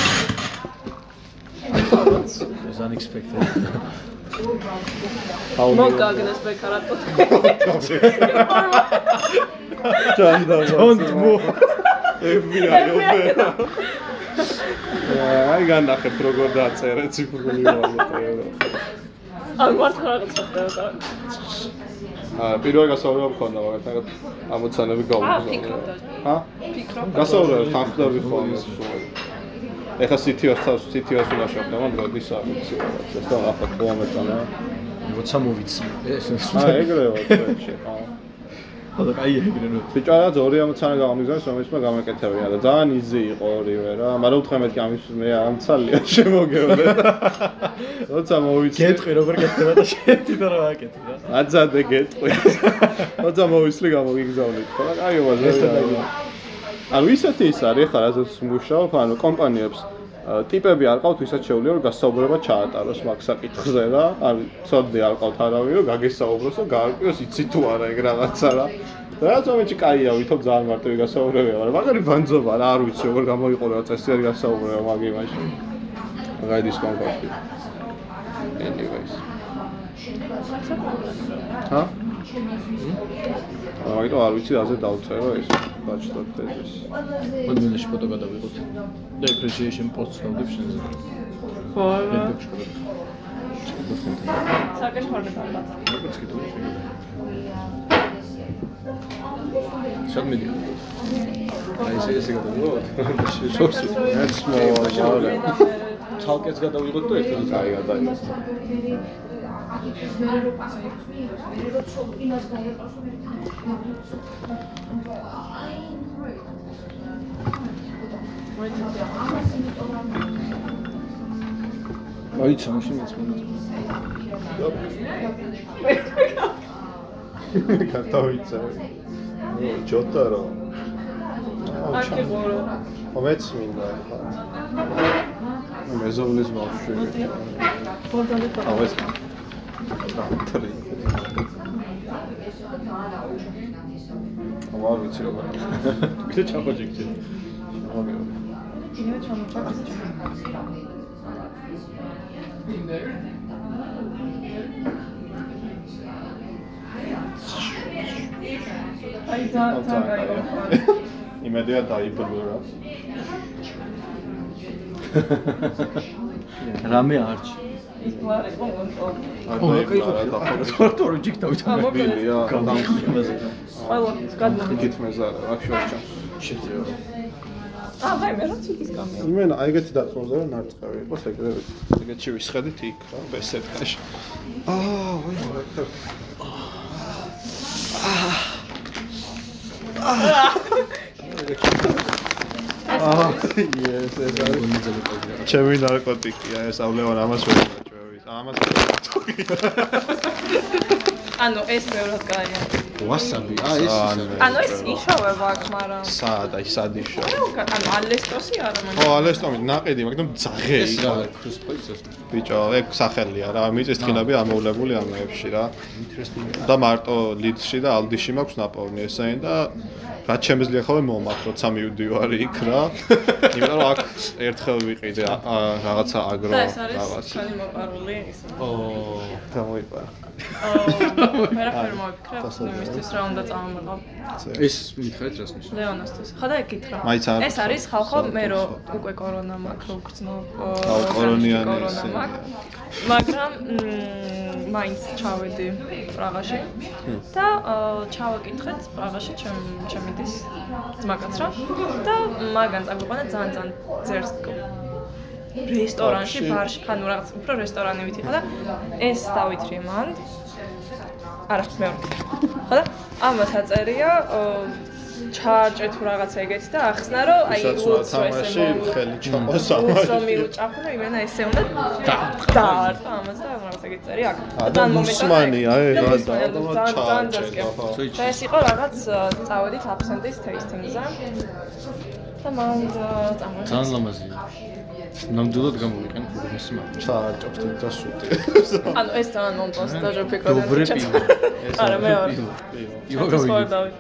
was unexpected.
მოგაგდეს ბეკარატო.
ჩანდა.
Don't move.
FBI ოპერა. აი განახეთ როგორ დაწერე ციფრული ვალუტა.
არ მართლა რაღაც ხდება.
აა პირველი გასაურე მქონდა მაგათაგად ამოცანები
აა,
გავუგზავნე.
ფიქრობდა.
ჰა?
ფიქრობ.
გასაურე თანხდები ხოლმე სულ. ეხა CTO-ს თავს CTO-ს უნდა შეხვდამა დროდის არ ვიცი რა. ეს და ახლა გომეტანა.
როცა მოვიცი. ეს ეს
აა ეგრევა წვეთში. აა
ხო და კაი ეგრე რომ
ბიჭო რაღაც 2.60-ი გამიგზავს რომელშმა გამეკეთებია და ძალიან იზი იყო ორივე რა მაგრამ უთხემეთკი ამის მე (laughs) ამცალია შემოგევლე როცა მოვიცი
გეტყვი როგორ გეტყვი და შედი და რა აკეთე რა.
აცადე გეტყვი (laughs) როცა მოვისლი გამოგიგზავნით ხო აი
ერთად
ვაზა
დაიგო.
ანუ ისეთი ის არის ხა რასაც მუშაობ ანუ კომპანიებს ა, ტიპები არ ყავთ ვისაც შეუძლია რომ გასაუბრება ჩაატაროს მაგ საკითხზე რა ან ცოდნი არ ყავთ არავინ რომ გაგესაუბროს და გაარკვიოს იცი თუ არა ეგ რაღაცა რა რაც მომენტში კაია ვითომ ძალიან მარტივი გასაუბრებია მაგრამ მაგარი ბანძობა რა არ ვიცი როგორ გამოიყურება წესიერი გასაუბრება მაგ იმაში მაგარი დისკომფორტი anyways ჰა? აა, მაგიტომ არ ვიცი, რაზე დავწერო ეს ბაჩლორ თეზის.
მოდმინაში ფოტო გადავიღოთ. და appreciation post დავდებ შენზე.
ხო.
რედებში გადავიღოთ.
საკეშხორე გარდა.
როგორც კი თუ სად მიდიხარ? აი ესე ესე გადავიღოთ. შორს.
რაც მოვალე.
ცალკეც გადავიღოთ და ერთად
აი, გადაიღე.
მოიცა მაშინ მეწყობა.
გადავიწევი. ნუ, ჯოთა რა.
არ გიყორო.
მომეც მინდა ახლა. მეზობლის ბავშვი.
ბორდონი ხო.
ავეს. დავთრი. აღარ ვიცი როგორ.
კიდე ჩამოჯიქჩი.
მოგეუბნება.
კიდევ ჩამოჭარს აი და და გაიგო
იმედია დაიბლურა.
რამე არჩი.
ის ბლარი ო
თორთორი ჯიქთავით
აა მოკლედ
ბილია
გამიხმაზე
ყველა გადმოდი
ხით მეზარ აქ შორჩა.
შეიძლება
აა ვაიმე რა ციგის გამი
იმენა აი ეგეთი დაწუნდა რომ ნარწყავი იყო ეგრევე. ეგეთში ვისხედით იქ რა ბესეთკაში. აა, ვაი, ვაი. აა, ეს ეს არის. ჩემი ნარკოტიკია ეს ავლევარ ამას ვერ ვაჭრევი. ამას ვერ
ანუ ეს მეორად გაიგო
ვასაბი აა ეს
ვაჭრევი.
ანუ ეს იშოვება აქ მაგრამ
სად აი სად იშო.
რა უკან ანუ ალესტოსი არა
ო,
მაგრამ
ალესტომი ნაყედი, მაგრამ ძაღე
ეს
იყო.
რა კრუსპოიცას
ბიჭო, ეგ სახელია რა, მიწის ტკინები ამოვლებული ამეებში რა. და მარტო ლიდში და ალდიში მაქვს ნაპოვნი ესენი და რაც შემიძლია ხოლმე მომაქვს, როცა მივდივარი იქ (laughs) რა. იმიტომ რომ აქ ერთხელ ვიყიდე ა- ა- რაღაცა აგრო
და ეს არის
რაღაც.
ჩვენი მოყარული ის
(laughs)
ო
გამოიყარა.
აა ვერაფერ მოვიფიქრე იმისთვის რა უნდა წამომიყო
ეს მითხრეთ რას ნიშნავს
ლეონასთვის. ხა და ეკითხა.
მაიც არ
ეს არის ხალხო
სა-
მე რო
სა-
უკვე კორონა მაქვს რო გრძნო.
აუ, კორონიანი ესე.
მაგრამ მ, მაინც ჩავედი პრაღაში და აა, ჩავაკითხეთ პრაღაში ჩემ ჩემი დის ძმაკაცრა და მაგან წაგვიყვანა ძალიან ძალიან ძერსკო. რესტორანში,
ბარში.
ბარში, ანუ რაღაც უფრო რესტორანებით იყო და ეს დავით რიმანდ არა მეორე. ხო და ამას აწერია ო, ჩააჭე თუ რაღაცა ეგეთი და ახსნა რომ აი
ისაც რა
უცრო ესე
თამაში,
მოვუ-
ხელი ჩაყოს
უცრო
ამაში.
მიუჭახნა იმენა ესე უნდა დაარტყა ამას და რაღაცა ეგეთი წერია აქ.
და მუსმანია, ეგ, რა,
და
და
ძალიან
ჩააჭე,
ძალიან
ხო.
და ეს იყო რაღაც ა, წავედით აბსენტის თეისტინგზე და მან წამოიღეს.
ძალიან ლამაზია ნამდვილად გამოვიყენ პროგრესი მაგრამ
ჩააჭობს და
(laughs)
(laughs) სუტი.
ანუ ეს ძალიან მომწონს და რა ფიქრობ
Добре пиво.
(laughs) არა მეორე.
ივა
სკოლა
გავიგე
დავით.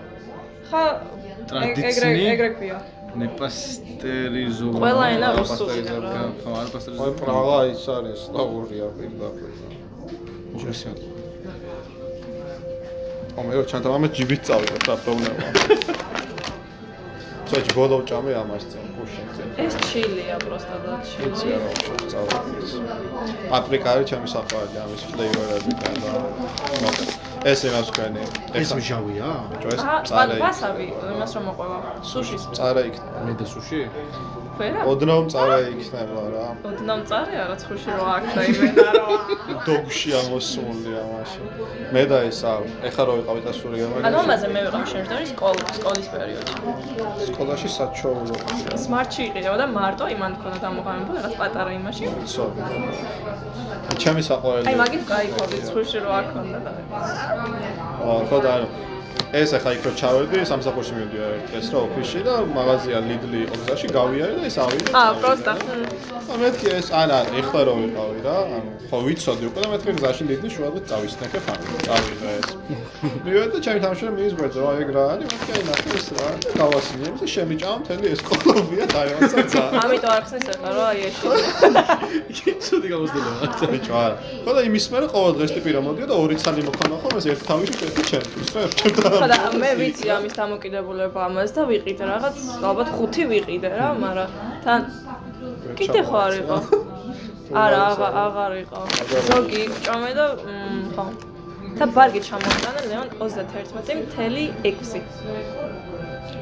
ხა ეგ- ეგრე
ტრადიციული-
ეგრე ქვია.
ნეპასტერიზო
ყველა ენა რუსულია რა.
ხო არ პასტერიზო
აი პრავა ის არის სლავურია პირდაპირ.
პროგრესი
ომერო ჩანთან ამას ჯიბით წავიღებ რა პრობლემა. წაჭ ბოლო ჭამე ამას წინ გუშინ წინ.
ეს ჩილია პროსტა და
ვიცი
ჩილი.
რა წავიღეს. აფრიკა არის ჩემი საყვარელი ამის ფლეივორები და და ეს იმას თქვენი.
ეს მჟავია
ეს
აა,
წარე
ვასაბი, იმას რომ მოყვება. სუშის
წარე იქნება.
მე და სუში
ფერა.
ოდნავ წარე იქნება რა.
ოდნავ წარე არა ცხუში რო აქ დაიმენა რა.
დოგში ამოსული ამაში. მე და ეს არ. ეხლა რო იყავით ასური
ანუ
გამაგე.
ამაზე მე ვიყავ შემდგარი სკოლა, სკოლის პერიოდში.
სკოლაში საჩვეულო.
სმარტში იყიდა და მარტო იმან მქონდა დამოყალიბებული რაღაც პატარა იმაში.
ცო. ჩემი საყვარელი.
აი მაგით გაიქოვდი ცხუში რო აქ მქონდა და.
ხო და არა. ეს ახლა იქ რო ჩავედი, სამსახურში მივედი ეს რა ოფისში და მაღაზია ლიდლი იყო გზაში, გავიარე და ეს ავიდა.
აა, პროსტა.
და მეთქი ეს ანა, ეხლა რო ვიყავი რა, ანუ ხო ვიცოდი უკვე და მეთქი გზაში ლიდლი შუადღე წავისნახე ხანი. წავიდა ეს. მივედი და ჩემი თამაშები მიიზღვეძე რა ეგ რა არის, მეთქი აი ნახე ეს რა არის და გავასინებ და შემიჭამ მთელი ეს კოლობია დაევასა
(laughs)
ძა.
ამიტომ არ ხსნის ახლა რა აი ეს ჩილი. (laughs)
ცუდი (laughs) გამოსდება
ბიჭო არა. ხო და იმის მერე ყოველ დღეს ტიპი რა მოდია და ორი ცალი მოხანა ხოლმე ეს ერთ თავში კეთე ჩემთვის რა.
ხო და მე ვიცი ამის დამოკიდებულება ამას და ვიყიდე რაღაც, ალბათ ხუთი ვიყიდე რა, მაგრამ თან კიდე ხო არ იყო? არა, აღარ აღარ იყო. ზოგი ჭომე და მ, ხო. და ბარგი ჩამოვიტანა ლეონ 31.6.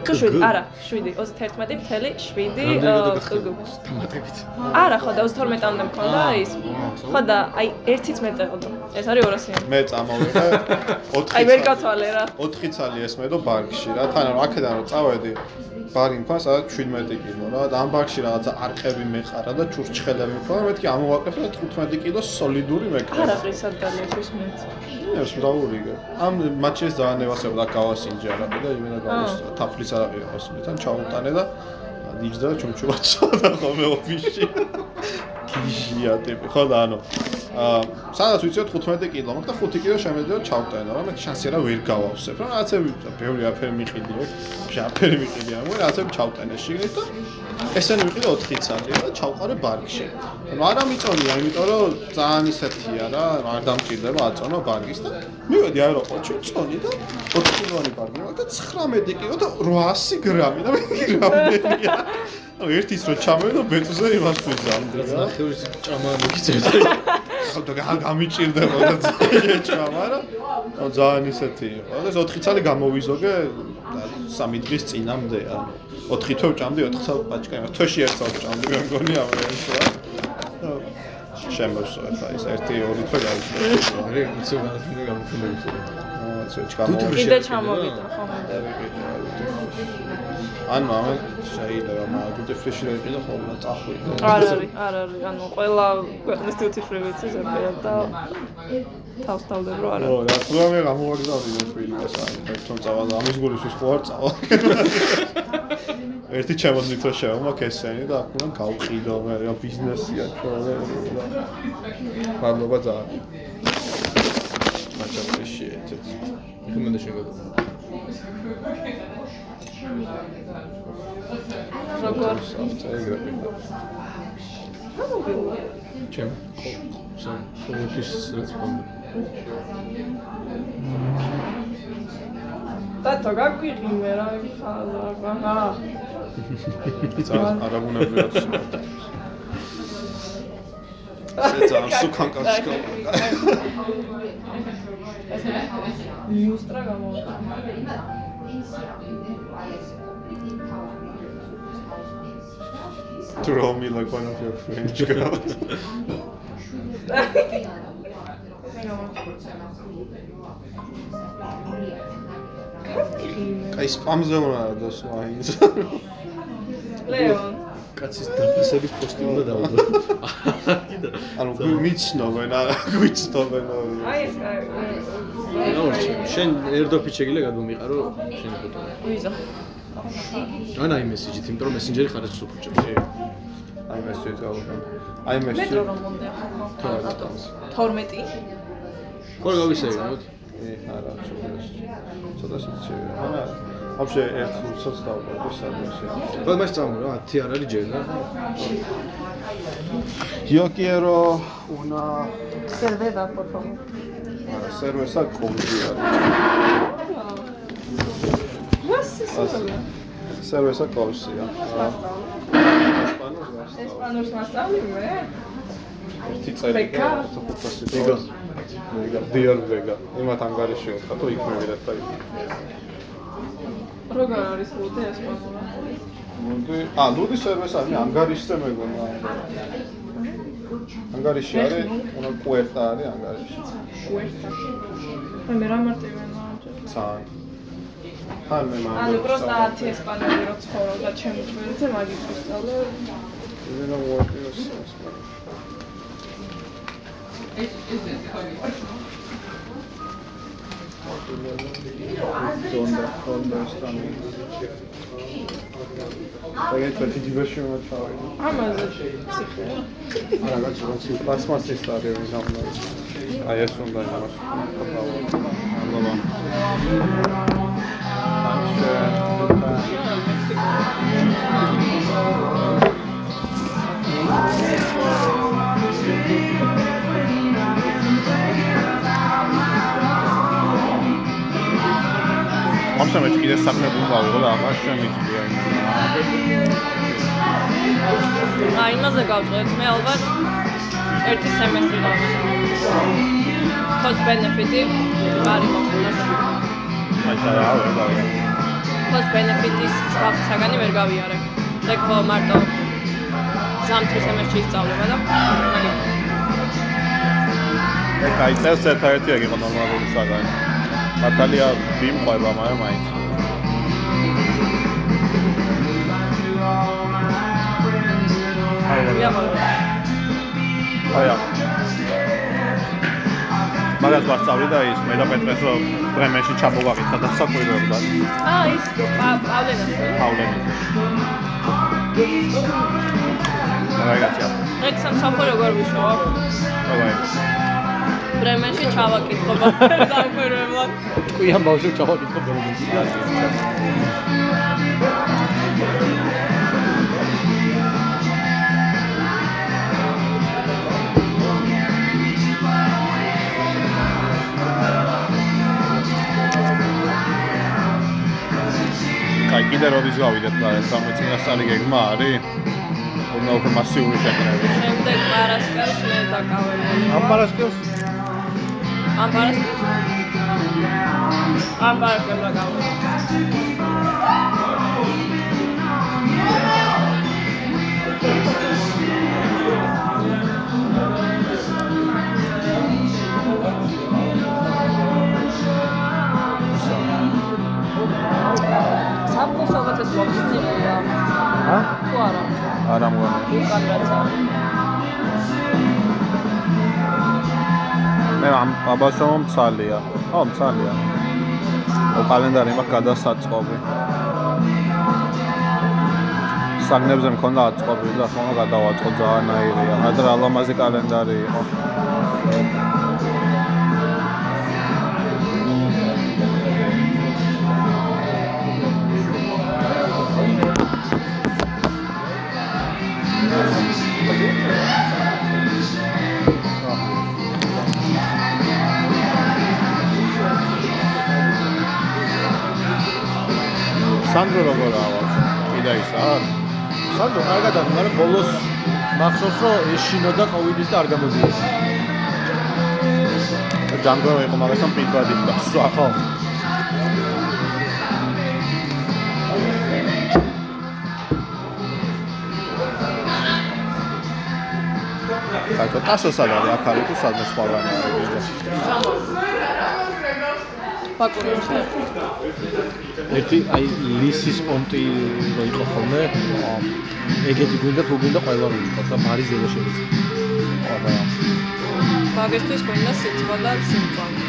თუ 7, არა, 7, 31.7 აა, კგ.
თამატებით
არა, ხო და 32-მდე მქონდა ის. ხო და აი ერთიც მეტყოდა. ეს არის 200-იანი.
მე
(laughs)
წამოვიდა 4
აი ვერ გათვალე რა.
4 წელი ესმედო ბარგში რა თან რა აქედან რომ წავედი ბარი მქონს არა 17 კილო რა და ამ ბარგში რაღაცა არყები მეყარა და ჩურჩხელები მქონდა მეთქი ამოვაკეთე და 15 კილო solidური მეკრა
არაყისად და ლექვის მეც.
ეს მდაურიგე ამ მატჩში ეს ძალიან ევასებოდა გავასინჯა რა და იმენა გავუსწრა თაფლის არაყი იყოს თან ჩამოტანე და ნიჯდა და ჩუმჩურაცო და ხოლმე ოფისში ფიჟია ტიპი ხო და ანუ აა სადაც ვიციო 15 კილო მაქვს და 5 კილო შემიძლია ჩავტენო, რა, მე შანსი რა ვერ გავავსებ. რა, რაღაცები ბევრი აფერი მიყიდი, ვე, აფერი მიყიდი ამ, რაღაცები ჩავტენე შიგნით და ესენი მიყიდე 4 წელი და ჩავყარე ბარგში. ანუ არ ამიწონია, იმიტომ რომ ძალიან ისეთია რა, არ დამჭირდება აწონო ბარგის და მივედი აეროპორტში, წონი და 4 კილოანი ბარგი მაქვს და 19 კილო და 800 გრამი და მე რამეა. ანუ ერთის რო ჩამოვიდო ბეთუზე იმას ვიზამდე რა.
ხევის ჭამა მიგიწევდა.
ხო და გა- გამიჭირდებოდა ძალიან ჭამა რა. ო ძალიან ისეთი იყო. ეს 4 წელი გამოვიზოგე 3 დღის წინამდე, ანუ 4 თვე ვჭამდი, 4 წელი პაჩკა, თვეში ერთ წელს ვჭამდი, მე მგონი ამერს რა. შემოსვა ხა ეს 1-2 თვე გავიწევი.
არის უცებ განათლება გამოხმევით.
აა ზოჩ
თუ
გამოვიდა.
თვეში
კიდე ჩამოვიდა ხო
ან მამე შეიძლება მაგუდე ფრეში დაიყიდა ხოლმე წახვიდა.
არ არის არ არის ანუ ყველა ქვეყნის თუთი ფრივიც ზებია და თავს თავდება რომ არ
ო,
(laughs) არის
რა თქმა უნდა გამოვაგზავნე პირობას აი, თვითონ წავა და ამის გულისთვის ხო არ წავა. ერთი ჩემოდნით რა შევამაკ ესენი და აქედან გავყიდო მე რა ბიზნესია ჩვენ. მადლობა ძალიან. Much appreciated.
რეკომენდაცია გადაგა.
როგორ
წაიგრაფი. ჩემ სამ ყოველთვის რესპონდი.
და თო გაგვიღიმე რა ხა აა
ძალიან არაგუნები აქვს. ესე ძალიან სუკან კაცკა.
ნიუსტრა გამოვა
Throw me like one of your French girls. აი სპამზე უნდა დოს მაინც.
ლეონ
კაცის დაფასების პოსტი უნდა დავდო. კიდე.
ანუ გვიცნობენ, არა გვიცნობენ.
აი ეს აი
რა ვარ შენ ერთოფი შეიძლება გადმომიყარო შენ ფოტო.
ვიზა
ან აი მესიჯით, იმიტომ რომ მესენჯერი ხარეს უხუჭებს.
აი მესჯით გავუკან. აი მესჯით.
მეტრო რომ მომდე ხო 12
ხო რა გავისეირნოთ?
ე, არა, ცოტა. ცოტა შეჭირა. არა. вообще ერთ ხუთსაც დავყავდი სადმოსია.
ხო მას წამო რა 10 არ არის ჯერ რა.
Yo quiero una
სერვედა por favor
არა, სერვერსა კომდი არის.
მას ის
ასე. სერვერსა კოვსია. ესპანურს გასწავლე.
ესპანურს მასწავლი მე
ერთი წელი
ვეგა?
ვეგა ვეგა დიარ ვეგა იმათ ანგარიში ვარ ხათო იქ მივიდეთ და იქ
როგორ არის ლუდე ესპანური
ლუდი ა ლუდი სერვეს არის ანგარიშზე მეგონა ანგარიში არის უნდა კუერტა არის ანგარიში
შუერთა მე რა მარტივენ მააჯერ
ძალიან ხან მე მაგ
ანუ პროსტა 10 ესპანური რო ცხოვრობდა ჩემი ჩვენზე მაგით ვისწავლე
იმენა ვორკიოს სერვეს ზონდა ხონდა სტამი ეგეთ ერთი ჯიბაში მომჩავე
ამაზე ციხე
არა გაწუხი პლასმასის სტადიონი გამოვიდა. აი ეს უნდა იმას აბავა. ამჟამად კიდე საფრთხე ვიყავ და აღარ შემიძლია იმას.
აა იმაზე გავწყვეტ მე ალბათ ერთი სემესტრი გავაკეთე cost benefit არის მომხდარა
აი რა ვერ დავიგე.
cost benefit-ის სწავლისაგანი ვერ გავიარე და ხო მარტო ზამთრის სემესტრში ისწავლება და მაგით
ეგ გაიწევს ერთადერთი ეგ იყო ნორმალური საგანი. ბატალია მიმყვება, მაგრამ მაინც.
ვიამოვნებ
აი რა. მაგას ვასწავლი და ის მე და პეტრეს რომ პრემიაში ჩამოვაგეთა და საკვირვებდა
აა ის პავლენას
პავლენით. მაგაცია.
ეგ სამსახურო გვერდშო.
აბა.
ბრემენში ჩავაკითხობა დამკვირვებლად.
ტყვია ბავშვი ჩავაკითხო ბერლინში.
კაი, კიდე როდის გავიდეთ და 60 წელი გეგმა არის? უნდა უფრო მასიური შეკრება.
შემდეგ პარასკევს მე დაკავებული. ვარ.
ამ პარასკევს
ამ პარასკევს. ამ პარასკევს დაკავებული. საბოლოოდ ეს მოგწონილია.
ა?
თუ არა,
არ ამგვარი.
უკან რაცა.
მე ამ აბაშო მცალია. ო, მცალია. ო, კალენდარი მაქვს გადასაწყობი. საგნებზე მქონდა აწყობი და ხოლმე გადავაწყო ძალიანაირია. ადრე ალამაზი კალენდარი იყო. სანდრო როგორაა ვარ? კიდე ის არ?
სანდო კარგად არის, მაგრამ ბოლოს მახსოვს რომ ეშინო და კოვიდის და არ გამოდიეს.
ჯანგო იყო მაგასთან პიტვადი და სვა ხო? კაცო, ტასო სად არის? აქ არის თუ სადმე სხვაგან არის?
ბაკურებში.
ერთი აი ლისის პონტი რო იყო ხოლმე ეგეთი გვინდა თუ გვინდა ყველა რო იყო და ბარის ზედა შეიძლება
აბა.
მაგისთვის გვინდა სიტყვა და სიმწონე.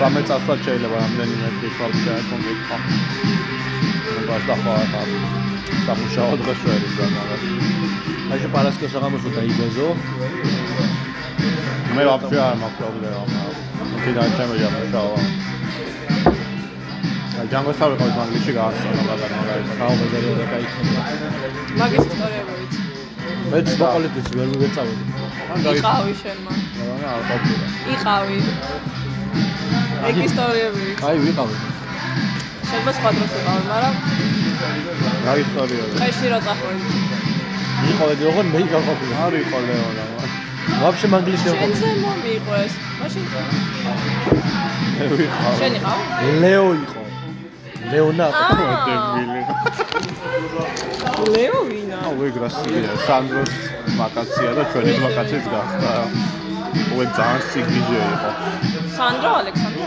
სამე წასაც შეიძლება რამდენიმე ფიქრობშა კონკრეტა. მას დახვალა. სამუშაო დღეს ვერ ის გამაგას.
აი შე პარასკევს საღამოსო დაიბეზო
მე ვაფშე არ э, მაქვს პრობლემა. კიდე არ შემოიამუშავა. ჯანგოს თავი ყოველ მანგლისში გაახსნა მაგარ მაგარ.
გაუბეზარია და გაიქნება
მაგის ისტორიები ვიცი.
მეც მოყოლითაც ვერ ვერ წავედი
ან გაიხსნა
იყავი შენმა.
რა არ ყოფილა.
იყავი. ეგ ისტორიები ვიცი.
აი ვიყავი
შეიძლება სხვა დროს იყავი, მაგრამ
რა ისტორია
ყეში რო წახვედი.
იყავი როგორ მე გაყოფილი
არ იყო ლეონა
ვაფშე მანგლისში არ ყოფილი
შენზე მომიყვე ეს. მაშინ
მე ვიყავ
შენ იყავ?
ლეო იყო ლეონა
დებილი
ლეო ვინა.
აუ ეგრასია სანდროს მაკაცია და ჩვენი მაკაციც გახდა უე ძალიან სიგიჟე იყო
სანდრო ალექსანდრო.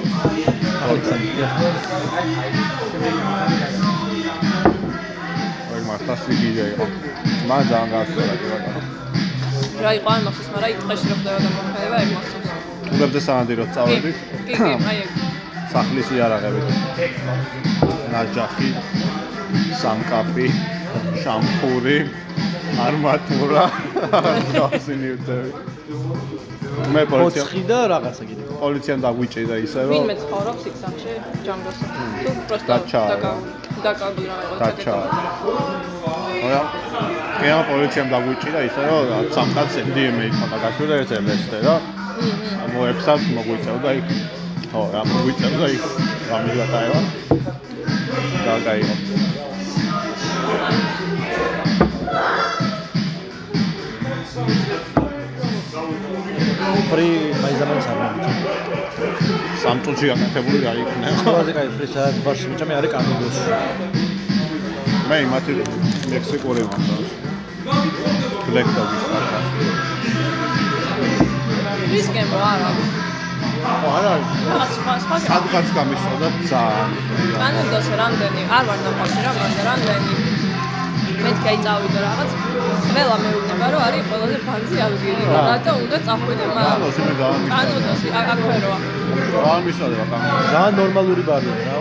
აი მართა სიგიჟე იყო მან ძალიან გასწორა კი ბატონო
რა იყო არ მახსოვს, მაგრამ აი ტყეში რო ხდება გამოხმევა, ეგ მახსოვს.
უბებზე სანადიროდ
კი,
წავედით
კი, კი, (coughs) აი ეგ.
სახლის იარაღებით. ნაჯახი, სამკაპი, შამპური, არმატურა, გასინივდები. მე პოლიციამ
ოცხი და რაღაცა კიდე
პოლიციამ დაგვიჭირა ისე რომ
ვინმე ცხოვრობს იქ სამში, ჯამბოს. თუ პროსტა
დაჩაალა.
დაკავდი რა იყო.
დაჩაალა. რა კეა პოლიციამ დაგვიჭირა ისე რომ სამკაც MDMA იყო დაგაშურა ერთ ელესტე რა მოეფსად მოგვიწევდა იქ ხო რა მოგვიწევდა იქ რამილა დაევა და გაიყო
ფრი მაიზამანს არ მომიწა
სამ წუთში გაკეთებული რა იქნება
ყველაზე კაი ფრი სადაც ბარში მიჭამე არის კარგოს
მე იმათი მექსიკური მომწონს ბლეკდოგის არა
რისკენ რა არა.
არა არის.
რაღაც სხვა სხვა
სადღაც გამისწოდა ძალიან
კანონდოს რამდენი არ ვარ ნახავში რა მაგრამ რამდენი მეთქი აი წავიდა რაღაც ყველა მეუბნება რომ არის ყველაზე ბანძი ალგერი და რატო უნდა წახვიდე მაგრამ
კანონს მე გამისწოდა
კანონდოს აქ- აქვეროა
გამისწოდა კანონს
ძალიან ნორმალური ბარია რა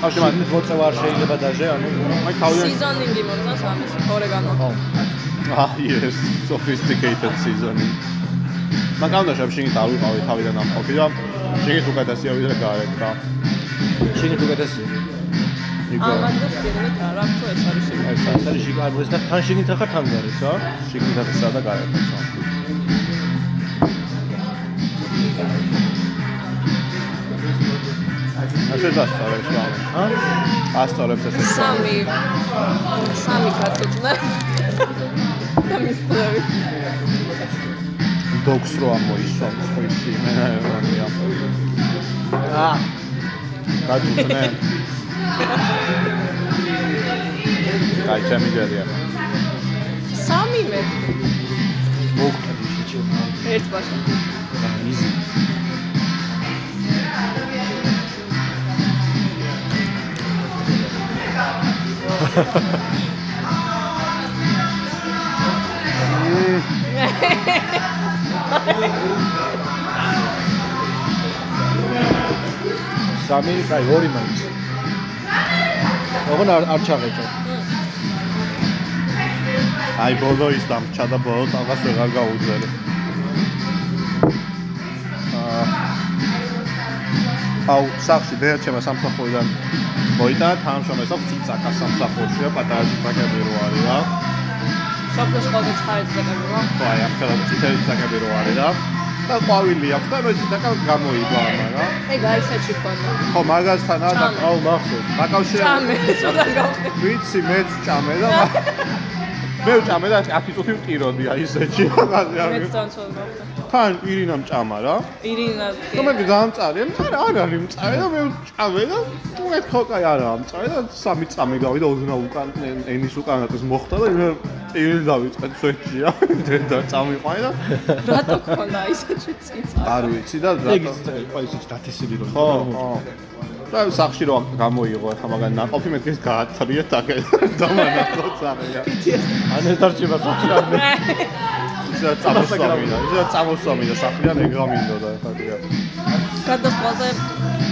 ხავში მან
შიგნით მოწევა არ შეიძლება დაჟე, ანუ
მე თავიდან
სიზონინგი მომწონს ამის ორეგანო.
Ah, yes, sophisticated seasoning. მაგამდე შეგშინით არ ვიყავი თავიდან ამ ყოფილი და შეგეთ უკეთესია ვიდრე გარეთ და
შიგნით უკეთესია.
ამ
იგო
ადგილს გერმით არ აქვს ეს არის
eh,
შიგნით.
ეს ეს არის შიგ არ მოიცდა თან შიგნით ახარ თან გარეთ, რა?
შეგეთ დაწესა და გარეთ. ასე დასწავლებს რა.
ა?
Ah, ასწავლებს ესე.
სამი სამი გაწუწნა. და მისწრები.
დოქს რო ამოისვა წვირში მე რამია
ა
გადუხნე კაი ჩემი ჯერია
სამი მე
მოგწევი შეჭება.
ერთ ბაშა.
იზი.
სამი, კაი, ორი მაქვს. ოღონ არ არ ჩაღეჭო.
აი ბოლო ის დამჭა და ბოლო ტალღას ვეღარ გაუძლელი აა, აუ სახში დერჩება სამსახურიდან მოიტანა თანამშრომლებს აქვს წიწაკა სამსახურში და პატარა წიწაკები რო არის რა
სოფლის ხოლმე ხარჯზე გაგვივა.
ხო აი ამ ხელად წითელი წიწაკები რო არის რა და ყვავილი აქვს და მე წიწაკა გამოიგო ამა რა
ეგ არის საჩი ხონდა.
(laughs) ხო მაგასთანაა და
ჭამე.
აუ მახსოვს
სამი
დაკავშირებული
ზოდან გავხდე.
ვიცი მეც ჭამე და მაგ- მე ვჭამე და 10 წუთი ვტიროდი აი ესეთში მაგაზე არ
მე
ვიყავ.
წონცულ გავხდე.
თან ირინამ ჭამა რა
ირინა
და მე დამწარე მაგრამ არ არის მწარე და მე ვჭამე და მე ხოკაი არ არის მწარე და სამი წამი გავიდა ოდნა უკან ენ- ენის უკანატოს მოხდა და მე ტირილი დავიწყეთ სვეტში (laughs) რა და წამიყვანი და
რატო გქონდა ისეთი წინწა?
არ ვიცი და რატო
იყო ისიც დათესილი რომ.
ხო ხო და სახში რომ გამოიღო ხა მაგან ნაყოფი მეთქეს გაათრიეთ აქ დამანახოთ ახლა
ან ეს დარჩება ხარ.
ისე წამოსვამიდა, ისე წამოსვამიდა სახლიდან ეგრამინდოდა ხა დია.
გადასვლაზე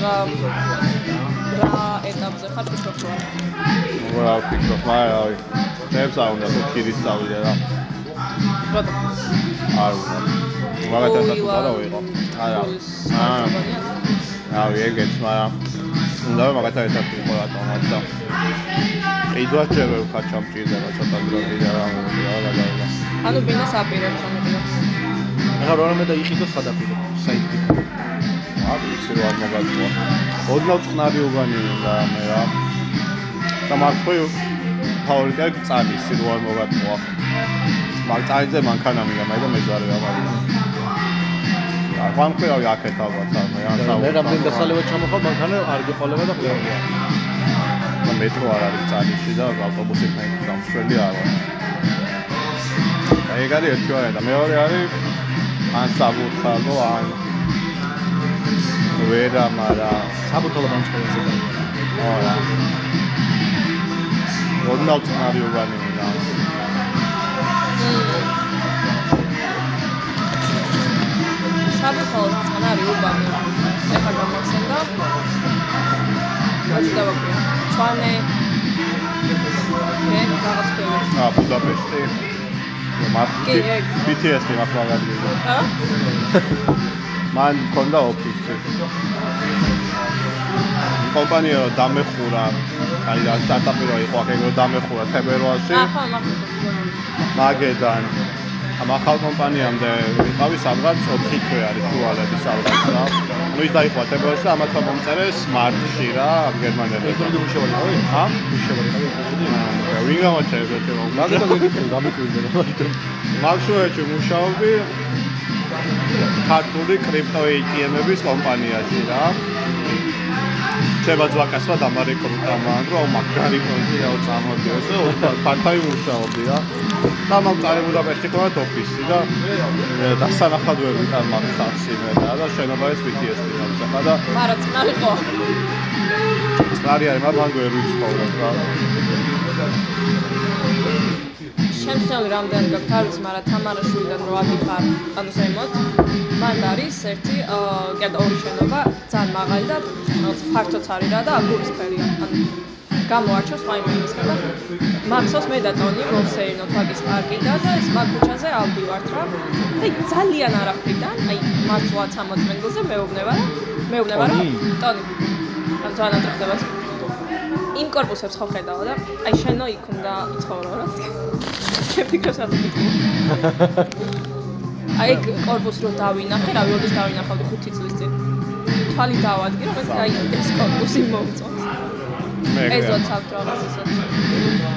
რა რა ეტაპზე ხარ ფიქრობ?
რა ვფიქრობ, მაგრამ აი, წებს არ უნდა ქირის წავიდა რა.
რატო?
არ უნდა. მაგათაც თუ არა ვიყო. არა. აა, რავი, ეგეც, მაგრამ უნდა მაგათაც ერთად ვიყო რატომაც და ყიდვას ჯერვე ვქა ჩამჭირდება ცოტა გროდი და რა მოდი რა გადავა.
ანუ ბინას აპირებ ხომ
ახლა რამე და იყიდო სადაპირო საიტიდან.
არ ვიცი რა არ მოგაწვა. ოდნავ წყნარი უგანი უნდა მე რა. და მართლა ფავორიტი არის წალისი რო არ მოგაწვა. მაგ წალიზე მანქანამია მე და მეძარე რა მაგ. აკვანკე რა აქეთ ალბათ არ მე ან
მე რამდენი დასალევა ჩამოხვალ მანქანა არ გიყოლება და ყველია.
და მეტრო არ არის წალიში და ავტობუსით მე გამშველი არ ვარ. აი ეგ არის ერთი ვარიანტი და მეორე არის ან საბურთალო ან ვერა მაგრამ
საბუთო ლაბანსკოზე დაიწყო.
არა. ოდნავ წნარი უბანი და
საბუთაო წყნარი უბანი ეხა გამახსენდა რაც დავაკრა წვანე მე რაღაც ქვევით
აა ბუდაპეშტი მაგ
კი, ეგ.
BTS-ი მაგ მაგაზია.
ხა?
მან მქონდა ოფისი. კომპანია რომ დამეხურა, აი რა სტარტაპი რომ იყო, აქ ეგ რომ დამეხურა თებერვალში.
აა ხა მაგ
მაგედან ამ ახალ კომპანიამდე ვიყავი სადღაც 4 თვე არის შუალები სადღაც რა. ну ის დაიხვა თებერვალში და ამათმა მომწერეს მარტში რა ამ გერმანელებს.
ეგრე მუშევარიყავი?
ამ
მუშევარიყავი.
აა, ვინ გამოჩერდა თემა?
მაგათ გეკითხე გამიკვირდა რა მაგათ.
მავშოეთში მუშაობდი ქართული კრიპტო ATM-ების კომპანიაში რა. შეიძლება ზვაკასვა დამარეკრუტამა, რომ მაგარი კონტიაო წამოდი ესე პარტაი მუშაობდი რა. და მამ წარემოდა პერსიკონად ოფისი და მე დასანახად ვერ ვიტან მაგ ხალხში მე და და შენობა ეს BTS-ი გამსახა და
მარა წყნარი ხო?
წყარი არის მაგრამ მან ვერ ვიცხოვრებ რა.
შემთხვევით რამდენი გაქვთ არ ვიცი, მაგრამ თამარაშვილიდან 8 ხარ, ანუ ზემოთ. მან არის ერთი, აა, კიდე ორი შენობა, ძალიან მაღალი და ფართოც არის რა და აგურისფერია. ანუ გამოარჩევს მაიმე იმისგან და მახსოვს მე და ტონი მოვსეირნოთ ვაკის პარკიდან და ეს მაგუჩაზე ავდივართ რა. და იქ ძალიან არაფრიდან, აი მართლა 60 მენგელზე მეუბნება რა. მეუბნება რა. ტონი. ან ძალიან ატეხდება. იმ корпуსებს ხო ხედავ და აი შენო იქ უნდა იცხოვრო რა. შეფიქრებს რა თქვი.
(laughs)
აი ეგ корпуს რო დავინახე, რავი, როდის დავინახავდი 5 წლის წინ. თვალი დავადგე, რომ ეს აი ეს корпуსი მომწონს. ეს ვაცავთ რაღაც ისეთ.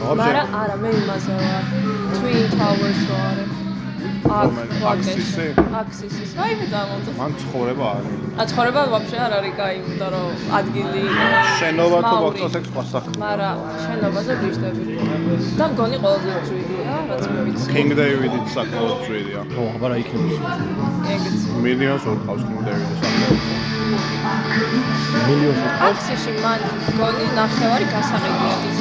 მაგრამ არა, მე იმაზე ვარ. Twin Towers რო არის.
რომელი?
აქსისი.
აქსისი?
აქსისი. აი მე დამოწონს.
მან ცხოვრება არის.
ა ცხოვრება ვაფშე არ არის კაი, იმიტომ რომ ადგილი
შენობა თუ
მაური.
მოხდეს ეგ სხვა სახლი.
მაგრამ შენობაზე ვიждები. და მგონი ყველაზე ძვირია, რაც მე ვიცი.
King David-ით საკმაოდ ძვირია.
ხო, აბა რა იქნება.
ეგეც.
მილიონს ვერ ყავს King David-ი საკმაოდ.
მილიონი
აქსიში მან მგონი ნახევარი გასაღებია ის.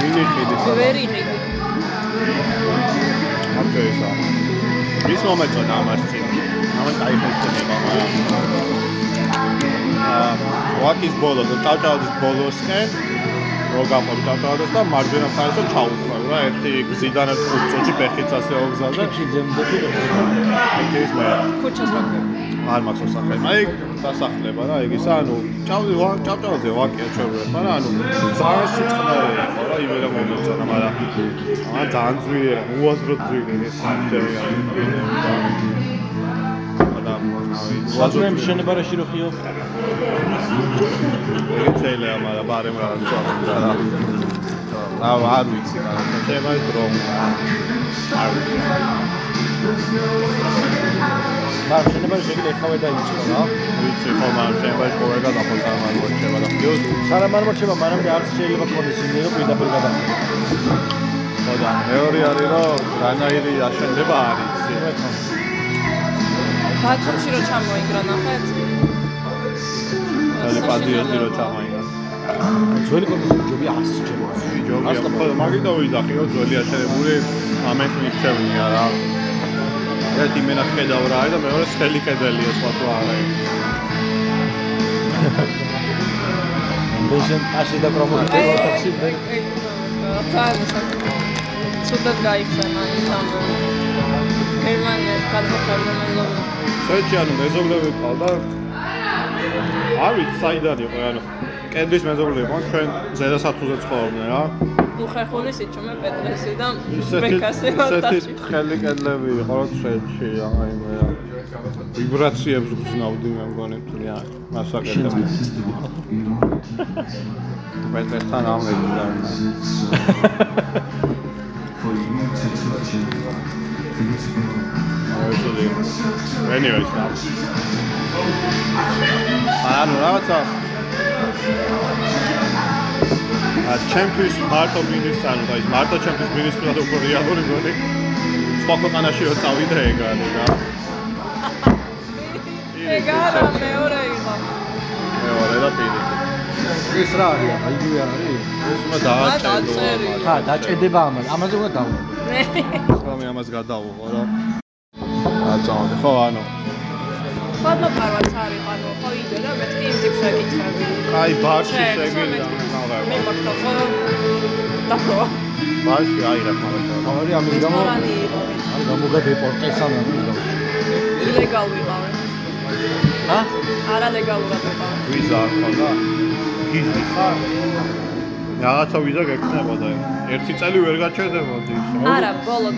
მინი ხიდის
გვერი რიგი.
აკეისა. ის მომეწონა ამას წინ. ამან დაიფიქრა მაგრამ აა ვაკის ბოლოს, ტავტავდის ბოლოსკენ რო გამოდი ტავტავდეს და მარჯვენა მხარეს რომ ჩაუხლა რა ერთი გზიდან ერთ ხუთწუთში ფეხით ასე ოგზავდა
ტიპში ძემდები და
აკეის მაგრამ
ქუჩას მოგვი.
არ მახსოვს ახლა. აი დასახლება რა ეგ ის ანუ ჭავდი ვა ჭავჭავზე ვაკია ჩვეულებმა რა ანუ ძალიან სიწყნარი იყო რა იმენა მომეწონა მაგრამ აა ძალიან ძვირია უაზროდ ძვირია ეს შემთხვევა და
ლაზურემ
ლაზურემში
შენებარაში რო ხიო
ეგ შეიძლება მაგრამ ბარემ რა ჩავდა რა აუ არ ვიცი რა შეიძლება ის რომ არ ვიცი
და შენებარაში ეგრე ეხავე და იცო რა
ვიცი ხო მაგრამ შეიძლება ის ყოველგან დაფონტანმა და ხიოს
სანამ არ მორჩება მანამდე არც შეიძლება კონდეს იმენა რომ პირდაპირ გადახდა
ხო და მეორე არის რომ რანაირი აშენდება არის იცი
ბათუმში რო ჩამოიგრა ნახეთ.
ტელეპათიები რო ჩამაიღა.
ძველი კონდეს ჯობია 100 ჯობა
ჯობია, ხო, მაგიტო ვიძახიო ძველი აშენებული ამეთ მიქცევნია რა. ერთი მენა ხედავ რა არის და მეორე სხელი კედელია სხვა თუ არა.
ბეჟენ ტაში და პრომოტი
აი,
ტაქსი
აი, აი, ძალიან მოსახსენია. ცუდად გაიხსენა ის ამ გერმანიას გადმოხდა მეგობრი.
შეჭი ანუ მეზობლები ყავდა. არ ვიცი საიდან იყო ანუ კედლის მეზობლები იყო ჩვენ ზედასათუზე ცხოვრობდნენ რა.
უხერხული სიჩუმე პეტრესი და
ისეთი
ბეკასი
ისეთი
მარტაში.
თხელი კედლები იყო რომ შეჭი აი მე რა. ვიბრაციებს გძნავდი მე მგონი თვლი ან მასაკეთებს. მეტრესთან ამერიდან anyways ანუ რაღაცა ა ჩემთვის მარტო მინუს ანუ და ის მარტო ჩემთვის მინუს ყველა და უფრო რეალური გონი სხვა ქვეყანაში რო წავიდა ეგ ანუ და
ეგ არა მეორე იყო.
მეორე და პირი
ეს რა არის აიგივე არის
ეს უნდა დააჭედო
დააწერი.
ხა დაჭედება ამაზე ამაზე უნდა დავუყო
მე (laughs)
ხოლმე ამას გადავუყო რა აწავდი ხო ანუ
ხოლმე პარვაც არის ანუ ხო იდე და მეთქი იმ ტიპს ეკითხები.
აი ბარში
შენ
შეგვიძლია
მე
გავაკეთო.
მაგდა ხო დაფრო.
ბარში აი რა მაგალითად
თავი ამის გამო
რესტორანი იყო. ვინც.
არ გამოგადეპორტეს ამ ამის გამო
ილეგალ ვიყავი.
ა
არალეგალურად ვიყავი.
ვიზა არ ხოდა გიზი ხარ რაღაცა ვიზა გეკნებოდა ერთი წელი ვერ გაჩერდებოდი
არა, ბოლო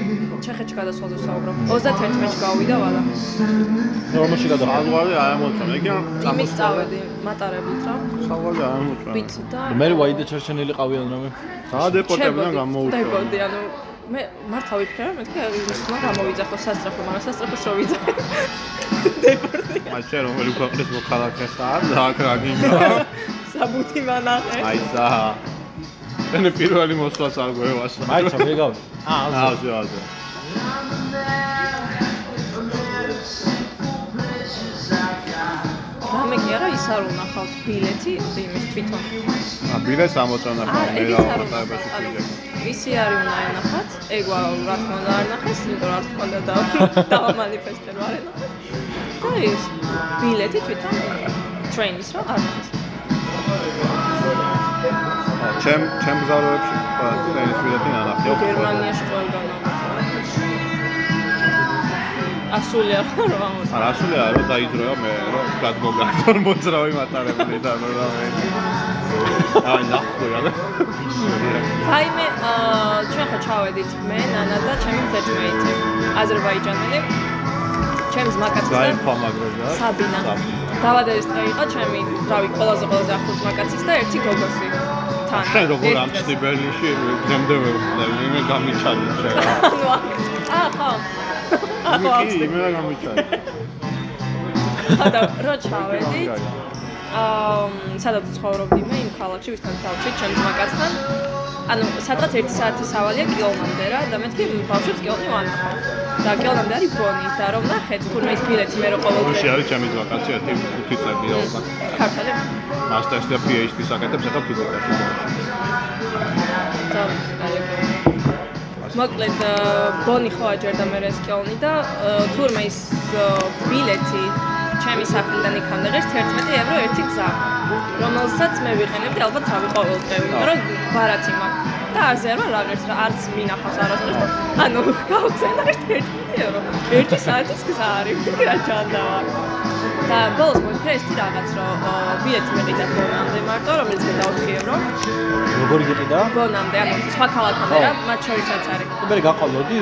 ჩეხეთში გადასვლაზე ვსაუბრობ. 31-ში გავიდა ვალა.
რომელში გადახარ
საზღვარი არ ამოწონა ეგ ამ
იმის წავედი მატარებით რა.
საზღვარი არ ამოწონა
ვიცი და
მე ვაიდე ჩარჩენილი ყავიან რამე
დაადეპორტებიდან
ჩებოდი,
გამოუჩვენა
დებოდი, ანუ მე მართლა ვიფიქრე, მეთქე ისმა გამოვიძახო სასწრაფო, მაგრამ სასწრაფოს რო ვიძახე. დეპორტი.
მაჩე რომელი ქვეყნის მოქალაქეს არ და აქ რა
(laughs)
გინდა
საბუთი მანახე.
აი ზა მე პირველი მოსვლაც არ გვევასა
მაიცა მე გავი
აა ზე ზე
რამე კი არა ის არ უნახავთ ბილეთი იმის თვითონ.
ა ბილეთს ამოწონა
არა,
ხოლმე
ეგეც
რა
არ უნახავთ.
მოწონებაში
ანუ
ვიდეო
ისი არის უნდა ენახოთ, ეგ ვა რა თქმა უნდა არ ნახეს, იმიტომ რომ არ თქონდა და დავამანიფესტე რა არა. და ის ბილეთი თვითონ ტრეინის რა არ ნახეს.
ჩემ ჩემ ზაროებში ტენის ბილეთი ნანახი.
გერმანიაში ყველგან ამოწოდა. ასული ახლა რომ ამოწოდა.
არა, სულა რომ დაიძროა მე რომ გადმოგართონ მოძრავი მატარებელი და რა მე. აი, ნახო რა.
აიმე აა ჩვენ ხო ჩავედით მე, ნანა და ჩემი ბზეჭმეიტი, აზერბაიჯანელი. ჩემს მაკაცს
გაიფა მაგრამ და
საბინა. დავადერის დღე იყო ჩემი, რავი, ყველაზე ყველაზე ახლოს მაკაცის და ერთი გოგოსი. თან.
შენ როგორ
ერთ
ამ
დღეს.
ცნებელში გემდე ვიყავი, მე გამიჩანე შენ.
ანუ აქ. აა ხო. ახო
კი,
ახლა
მე რა გამიჩანე.
და რო ჩავედით, აა სადაც ცხოვრობდი მე იმ ქალაქში ვისთან დავჭი ჩემს მაკაცთან ანუ სადღაც 1 საათი სავალია კილომამდე რა და მეთქი ბავშვებს კილონი ვანახავ და კილონამდე არის ბონი და რომ ნახეთ თურმე ის ბილეთი მე რო
გოში
ყოველდღე
არის ჩემი ვაკაცია 5 წელი ალბათ.
ქართალები
მასტერს და PhD-ს აკეთებს ახლა ფიზიკაში.
და აი, ეგ. მოკლედ აა, ბონი ხო აჯერდა მე ეს კილონი და აა, თურმე ის აა, ბილეთი ჩემი სახლიდან იქამდე ღირს 11 ევრო ერთი გზა რომელსაც მე ვიყენებდი ალბათ თავი ყოველდღე იმიტომ რომ ბარათი მაქვს და არზე არა რაღაც რა არც მინახავს არასდროს და ანუ გავხსენა 11 ევრო ერთი საათის გზა არის რა ჩანდაა და ბოლოს მოიქრა ერთი რაღაც რომ აა, ბილეთი მეყიდა ბონამდე მარტო რომელიც მე 4 ევრო
როგორ იყიდა?
ბონამდე, ანუ სხვა ქალაქამდე რა, მათ შორისაც არის.
მე გაყოლოდი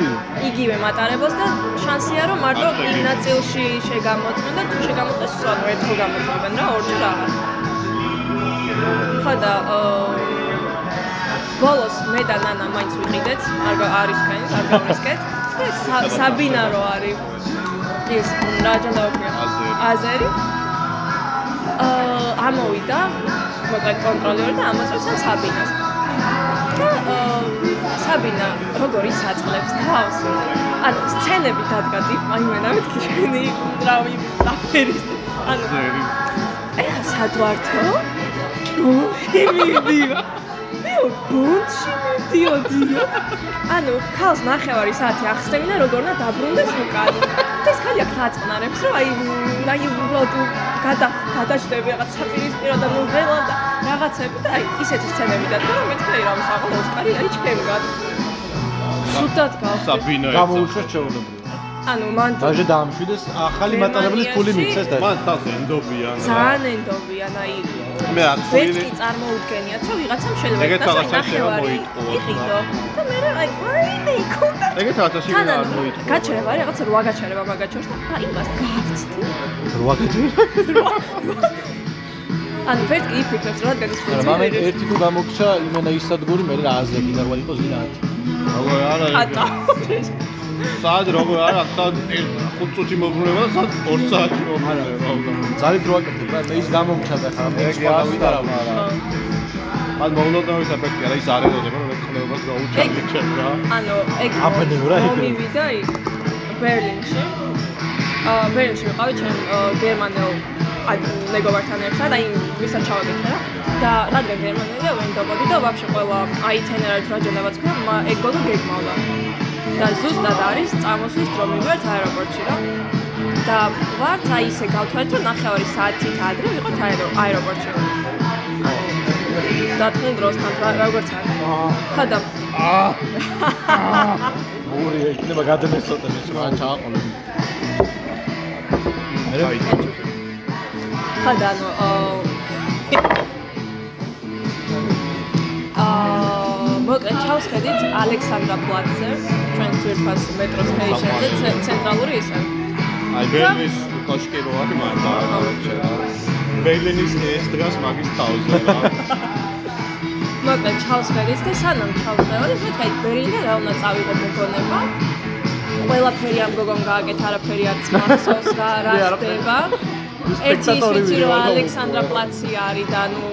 იგივე მატარებელს და შანსია რომ მარტო იმ ნაწილში შეგამოწმენ და თუ შეგამოწმეს სულ ერთხელ გამოწმებენ რა, ორჯერ აღარ. ხო და აა, ბოლოს მე და ნანა მაინც ვიყიდეთ, არ გა- არ ისკენით, არ გავრისკეთ. და სა- საბინა რო არის. ის რაჯა დაუკვირა.
აზერი.
აზერი. აა ამოვიდა მოკლედ კონტროლერი და ამოწევს ამ საბინას. და აა, საბინა როგორი საწყლებს თავს ანუ სცენები დადგათ იმ აიმენა მეთქი შენი რავი დაფერის ანუ
ზერი.
ეხა სად ვართო ბუნში მივდიო მე ბუნში მივდიოდიო ანუ ქალს ნახევარი საათი ახსნევინა როგორ უნდა დაბრუნდეს უკან და ეს ხალი აქ დააწყნარებს რომ აი მ, აი უბრალოდ გადა გადაშდები რაღაც საპირისპირო და ნუღელა და რაღაცები და აი ისეთი სცენები დადგა რომ მეთქე რა მოსაყო ოსკარი არის ჩემგან სუდად გავხდი
საბინა ეცა.
გამოუშვეს ჩეულებრივ.
ანუ მან
დაჟე დაამშვიდეს ახალი მატარებლის ფული მიცეს და
მან თავს ენდობიან. რა.
ძალიან ენდობიან აი
მე აქ
ვერც
ხული
კი წარმოუდგენიათ, რომ ვიღაცამ შეიძლება
ეგეც
იქნას
რაღაცა შეიძლება
ნახევარი
მოიტყუო.
იყიდო. და მე რა აი აი მეიკონდა.
ეგეთ რაღაცაში ვინ არ მოიტყვა.
გაჩერება არის, რაღაცა 8 გაჩერება მაგაჩორს და აი იმას გავწდი.
რვაგეჯი.
ან ვერც კი იფიქრებს რა ადგანის
რა
ფუნქცია.
მამე ერთი თუ გამოგჩა იმენა ისადგური მე რა აზე გინარვა იყოს გინა 10.
როგორ არა (laughs)
ხატა. (laughs)
სად როგორ არა სად 5 წუთი მოგრუნება და სად 2 საათი მოგრუნება უნდა
ძალიან დროაკეთებ რა მე ის გამოგჩა და ხა მე
ეგ
სხვა ვიდა რა
არა ან მოვლოდნობის ეფექტი არა ის არ ელოდება რომ ექნებას გაუჩანდი ჩემ რა
ანუ ეგ
აბანეო რა იქ.
მომივიდა იქ ბერლინში. აა ბერლინში ვიყავი ჩემ აა, გერმანელ აი, მეგობართან ერთად, აი ვისაც ჩავაგეთ რა. და რადგან გერმანელია ვენდობოდი და ვაფშე ყველა აი თენერად რაჯონებაც ქნა მა- ეგ გოლო გეგმავდა. და ზუსტად არის წამოსვლის დრომი ვართ აეროპორტში რა. და ვართ აი ისე გავთვალეთ რომ ნახევარი საათით ადრე ვიყოთ აერო- აეროპორტში. და თან დროსთან რა- როგორც არის. ხა და
ორი ექნება გადამესოთა მე რა ჩააყოლე
აი
ხა და ანუ აა აა მოკლედ ჩავსხედით ალექსანდრა პლაცზე ჩვენს ძვირფას მეტრო სტეიშენზე ცე- ცენტრალური ისე
აი ბერლინის კოშკი რო არის მარტო გაუჩა ბერლინის ეს დღას მაგის თავზე
(laughs)
რა
მოკლედ ჩავსხედით და სანამ ჩავსხევით მეთქე ბერლინიდან რა უნდა წავიღო მოგონება ყველაფერი ამ გოგომ გააკეთა არაფერი არც მახსოვს რა რა ხდება ერთი ის
სპექტატორი
ვიცი
ვიღო
რომ
და
ალექსანდრა პლაცი არის და ნუ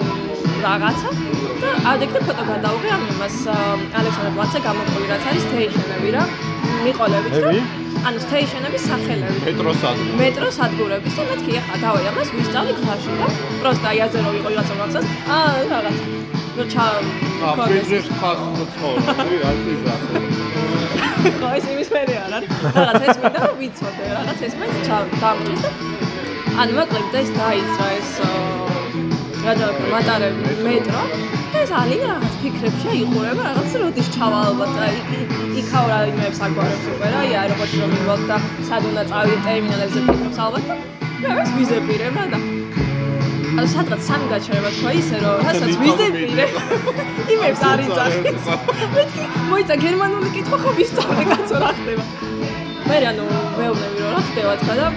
რაღაცა და ადექრე ფოტო გადავუღე ამ იმას აა, ალექსანდრა პლაცზე გამოყვი რაც არის სტეიშენები რა მიყოლებით
ები?
რომ ანუ სტეიშენების სახელები
პეტროსად
მეტროს ადგილების და მეთქი ახლა დავე ამას ვისწავლი კლასში და პროსტა იაზე რომ იყო რაღაცა მაგას აა რაღაც ну чам.
აფრინზე ხახმოწორი რა შეიძლება
ხო, ეს იმის მერეა რა. რაღაც ეს მინდა რომ ვიცოდე, რაღაც ეს მეც ჩავ დამჭირს და ან მოკლედ და ეს დაიძრა ეს გადავაკრა მატარე მეტრო. და ეს ალინ რაღაც ფიქრებში აიყურება, რაღაც როდის ჩავა ალბათ და იქ- იქ- იქაო რა იმებს აგვარებს უკვე რა, აი აეროპორტში რომ მივალთ და სად უნდა წავიდე ტერმინალებზე ფიქრობს ალბათ და მე მას ვიზებირებ რა და ან სადღაც სამი გაჩერება თქვა ისე რომ რასაც ვიზებირე იმებს არ იძახის (laughs) მეთქი მოიცა გერმანული კითხვა ხო ვისწავლე კაცო რა ხდება მე რანუ ვეუბნები რომ რა ხდება თქვა და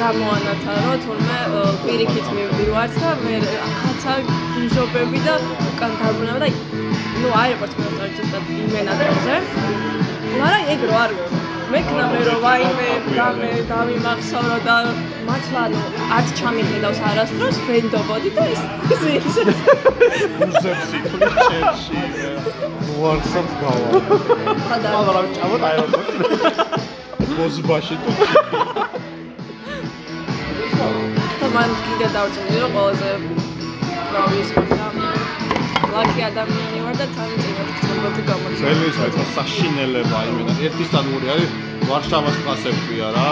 გამოანათა რომ თურმე ö, პირიქით მივდივართ და მე ახაცა გიჟობები და უკან გამონავა და ნუ აეროპორტს მივწავე ზუსტად იმენატრებზე მაგრამ ეგ რო არ მექნამე რომ ვაიმე გამე დავიმახსოვრო და მართლა ანუ არც ჩამიხედავს არასდროს ვენდობოდი და ეს ეს
უზებს იქნება ჩერში ვარსაბს გავა
ხოდა
მაგრამ რა ვჭამოთ აეროპორტში ბოზბაში თუ
და მან კიდე დავწერდი რომ ყველაზე რავის და ლაკი ადამიანი ვარ და თან წინათ გწნობოდი გამოჩნდა
ძველი საერთოდ საშინელება იმენა ერთისთან ორი არის ვარშავას კლასებია რა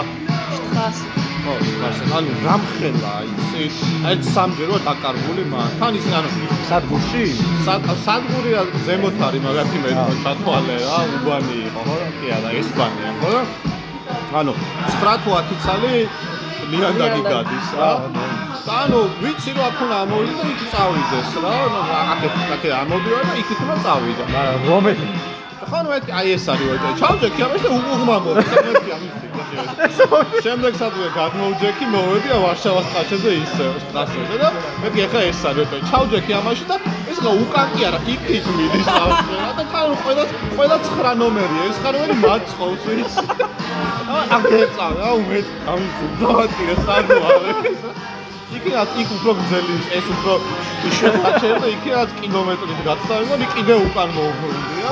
ხას
ხო ვარშავას ანუ რამხელა აი ეს აი სამჯერ ვარ დაკარგული მან თან ისე ანუ
სადგურში?
სად სადგური რა ზემოთ არის მაგათი მეტრო ჩათვალე რა უბანი იყო ხო რა კი არა ესპანია ხო რა ანუ 9 თუ 10 წელი ლიანდაგი გადის რა ანუ ვიცი რომ აქ უნდა ამოვიდეს და იქ წავიდეს რა ანუ აქეთ აქეთ ამოვიდა და იქ იქნა წავიდა
მაგრამ რომელი?
ხან მეთქი, აი ეს არის ვაჭა. ჩავჯექი ამას და უგუღმა მოდი. მეთქი ამის. შემდეგ სადვე გადმოვჯექი, მოვედი ვარშავას ხაშეზე ისე სტრასაზე და მეთქი ახლა ეს არის ვაჭა. ჩავჯექი ამაში და ეს რა უკანკი არა, იქ იქ მიდის ამაში რა და თან ყველა ყველა 9 ნომერია. ეს 9 ნომერი მაწყობს ის. აგეწა რა უმეთ ამის დავატირე სადო არის. იქ რა იქ უფრო გძელი ის, ეს უფრო შეხვაჩერა და იქ რა კილომეტრით გაცდავი და კიდე უკან მოუბრუნდია.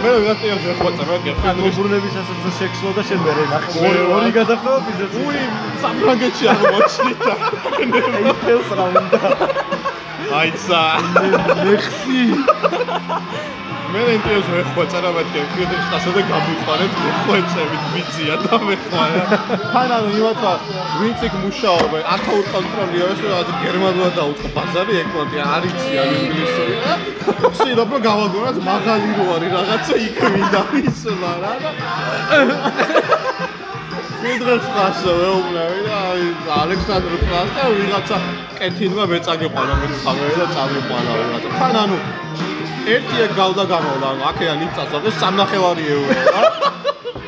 მე რა ვიღაცებს ეხვაცა რა გეხანუში
უბრუნებისასაც შექსლო და შენ მერე ნახე.
ორი- ორი
გადახდა ფიზიკა.
უი საფრანგეთში არ მოჩნით
აი თელს რა უნდა.
აიცა
ლექსი.
მე ინტერესს ეხვაცა რა მეთქე ხიდი ხასა და გამიყვანეთ ხუეწებით ვიცია და მეხვალა თან ანუ იმათა ვინც იქ მუშაობ ახლა უკონტროლია ეს რა გერმანულად დაუწყო ბაზარი ეკონტი არ იციან (laughs) ინგლისური რა ვცდილობ რომ გავაგონოთ მაღალი რო არის რაღაცა იქ მინდა ისლა რა და ვიდრეს ხასო ვეუბნები და აი, ალექსანდრ ფლას და ვიღაცა კეთილმა მეწაგეყანა მეცხავე და წამიყვანა ვიღაცა. თან ანუ ერთია გავდა გამოვლა, ანუ აქედან იწასავდა 3.5 ევრო რა.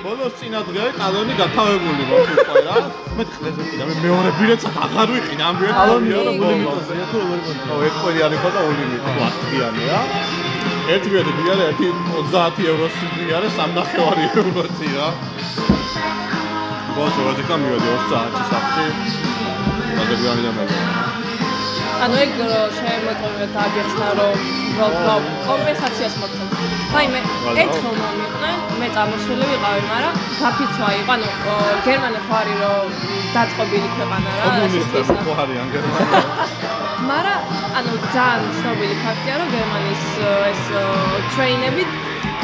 ბოლოს წინა დღეა ტალონი გათავებული მოყვა უკვე რა. მე ხლეზე კიდე მე მეორე ბილეთს აღარ ვიყინ ამ ბილეთს.
ალონი
მეორე
ორი
ბოლოს.
ლიმიტოზეა თუ როგორ გონდა?
ო, ერთკვირიანი ხო და ორი ლიტვიანი რა. ერთი გვერდი გიარე 130 ევროს გიარე 3.5 ევროთი რა. ბოლოს როცა გამივედი 2 საათი საფში. მაგები ამიდან მაგრამ.
ანუ ეგ რო შემოწმებთ აგეხსნა რომ გვალ კომპენსაციას მოგწონთ. ვაიმე
ვალაო.
ერთხელ მომიყვნენ, მე წამოსული ვიყავი, მაგრამ დაფიცვა იყო, ანუ ო, გერმანებს ვარი რომ დაწყობილი ქვეყანა რა. რა
კომუნისტები
შეგვიძლია.
ხო არიან
(laughs)
გერმანიაში?
მაგრამ ანუ ძალიან ცნობილი ფაქტია, რომ გერმანიის ö, ეს ö, ტრეინები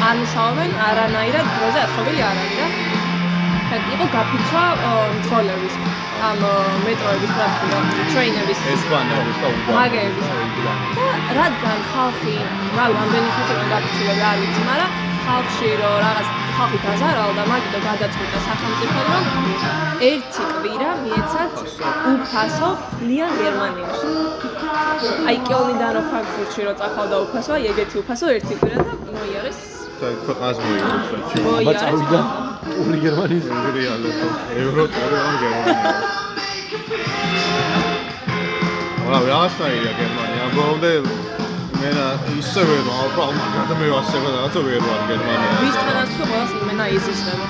არ მუშაობენ არანაირად დროზე აწყობილი არ არის და ეგ იყო გაფიცვა ö, მძღოლების ამ ö, მეტროების ტრანსპორტის ტრეინების
ესპანელებს და
მაგეების. და რადგან ხალხი რა რამდენი ხუთი გაფიცილები არ ვიცი, მაგრამ ხალხში რომ რაღაც ხალხი დაზარალდა, მაგიტო გადაწყვიტა სახელმწიფომ რომ ერთი კვირა მიეცათ უფასო ლიან გერმანიაში. აი კელნიდან რო ფრანკფურტში რო წახავდა უფასო, აი ეგეთი უფასო ერთი კვირა და მოიარეს
და ქვეყანას მიიღებს საჩი.
მოიარეს.
წავიდა. ორი გერმანიის
რეალებს ევრო 2 ან გერმანია. რა რაღაცაა გერმანია. ამბობდე მე რა ისე ვერ ვარ, მაგრამ მე ასე რაღაცა ვერ ვარ გერმანიაში.
ვისთანაც თუ ყველას იმენა იზისრება.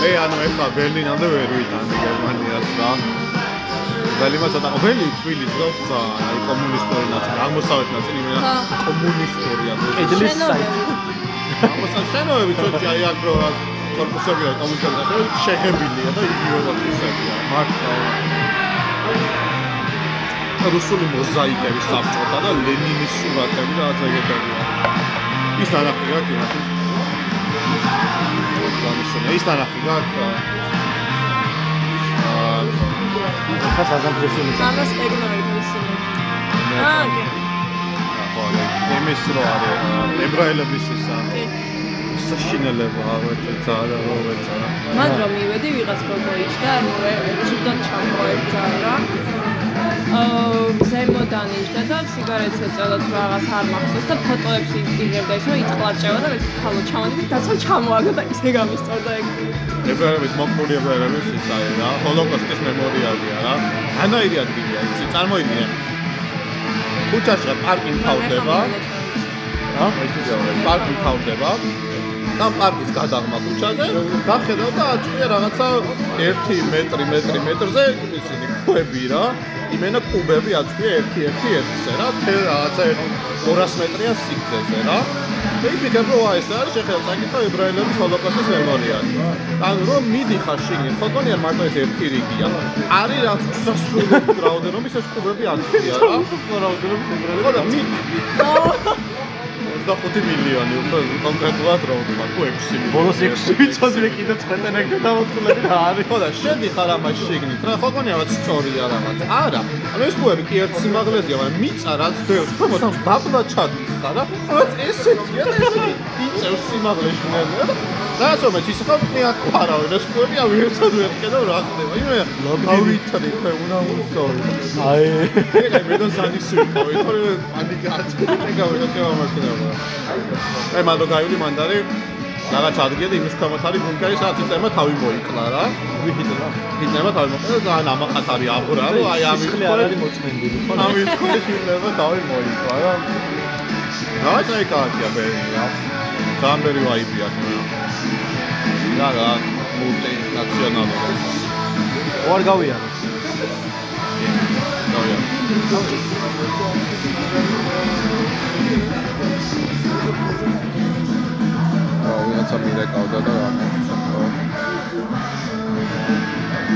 მე ანუ ეხლა ბერლინამდე ვერ ვიტანდი გერმანიას რა. ბერლინმა ცოტა ყველი თბილისს გოცა, აი კომუნისტური ნაწილი, აღმოსავლეთ ნაწილი მე რა
ხო.
კომუნისტურია.
კედლის საიტი.
შენობები.
აღმოსავლეთ შენოები ცოტა აი აქ რო რა корпуსები და კომუნისტები და შეღებილია და იგივე корпуსებია. მართლა. რუსული მოზაიკები საბჭოთა და ლენინის სურათები და ასე ეგეთებია. ის ნანახი რა კინოში. გამისუნა ის ნანახი რა აა
ხა საზამთროში მიწა.
ამას ეგნორი გასული. აა, კი.
ხო, იმის რო არის აა, ებრაელების ის აა,
კი.
საშინელება ავეთ ძალა ავეთ რა.
მან რომ მივედი ვიღაც გოგოიჩ და ანუ ზუდან ჩამოებდა რა. აა ზემოდან იჯდა და სიგარეტს ეწელოთ რაღაც არ მახსოვს და ფოტოებს იღებდა ისო იტყლარჭევა და მეთქი ხალო ჩამოდი და დაცვა ჩამოაგა და ისე გამისწორდა ეგ.
ებრაელების მოკლული ებრაელების ის არის რა ჰოლოკოსტის მემორიალია რა ანაირი ადგილია იცი წარმოიდგინე ქუჩაში რა პარკი მთავრდება რა ისე პარკი მთავრდება და პარკის გადაღმა ქუჩაზე დახედავ და აწყვია რაღაცა 1 მეტრი მეტრი მეტრზე ისინი ქვები რა იმენა კუბები აწყვია 1-1-1-ზე რა თელ რაღაცა 200 მეტრია სიგრძეზე რა მე ვფიქრობ რომ აი ეს არის შეხედა წაკითხა ებრაელების ჰოლოკოსტის მემორიალი ანუ რომ მიდიხარ შიგნით ხო გონია მარტო ეს ერთი რიგია არის რა სასრული რაოდენობის ეს კუბები აწყვია რა რაოდენობის ებრაელები და მიდი 25 მილიონი უფრო კონკრეტულად რა ვთქვა, თუ 6 მილიონი.
ბოლოს 6 მიწაზე კიდე წვეტენ ეგ დავაწყლები და არის.
ხო და შედიხარ ამას შიგნით რა, ხო გონია რაღაც სწორია რაღაც. არა, ანუ ეს კუები კი ერთ სიმაღლეზეა, მაგრამ მიწა რაც დევს, ხო მოთან დაბლა ჩადიხარ რა. რაღაც ესეთია და ესეთი იწევს სიმაღლეში მე. რასომეთ ის ხო მეათ ფარავენ ეს კუები, აი ერთად ვერ ხედავ რა ხდება. იმე გავითრი ფე უნდა უსწორი.
აი.
ეგ მე და სანისი ვიყავი, თორე პანიკა აწევი და გამარჯობა. აი მანდო გაივლი მანდარი რაღაც ადგილი იმის ქვემოთ არის ბუნკერი სადაც იწემა თავი მოიკლა რა
ვიხიძა.
იწემა თავი მოიკლა და ან ამახათ არის აბურა რომ აი ამის
სისხლი არ არის მოწმენდილი. ხო?
ამის ქვეშ იწემა თავი მოიკლა რა რაღაც აი კაცია ბერი რა გამბერი ვაიბი აქვს რა რა მულტინაციონალური
ვარ გავიანო.
დავია აა ვიღაცა მირეკავდა და რა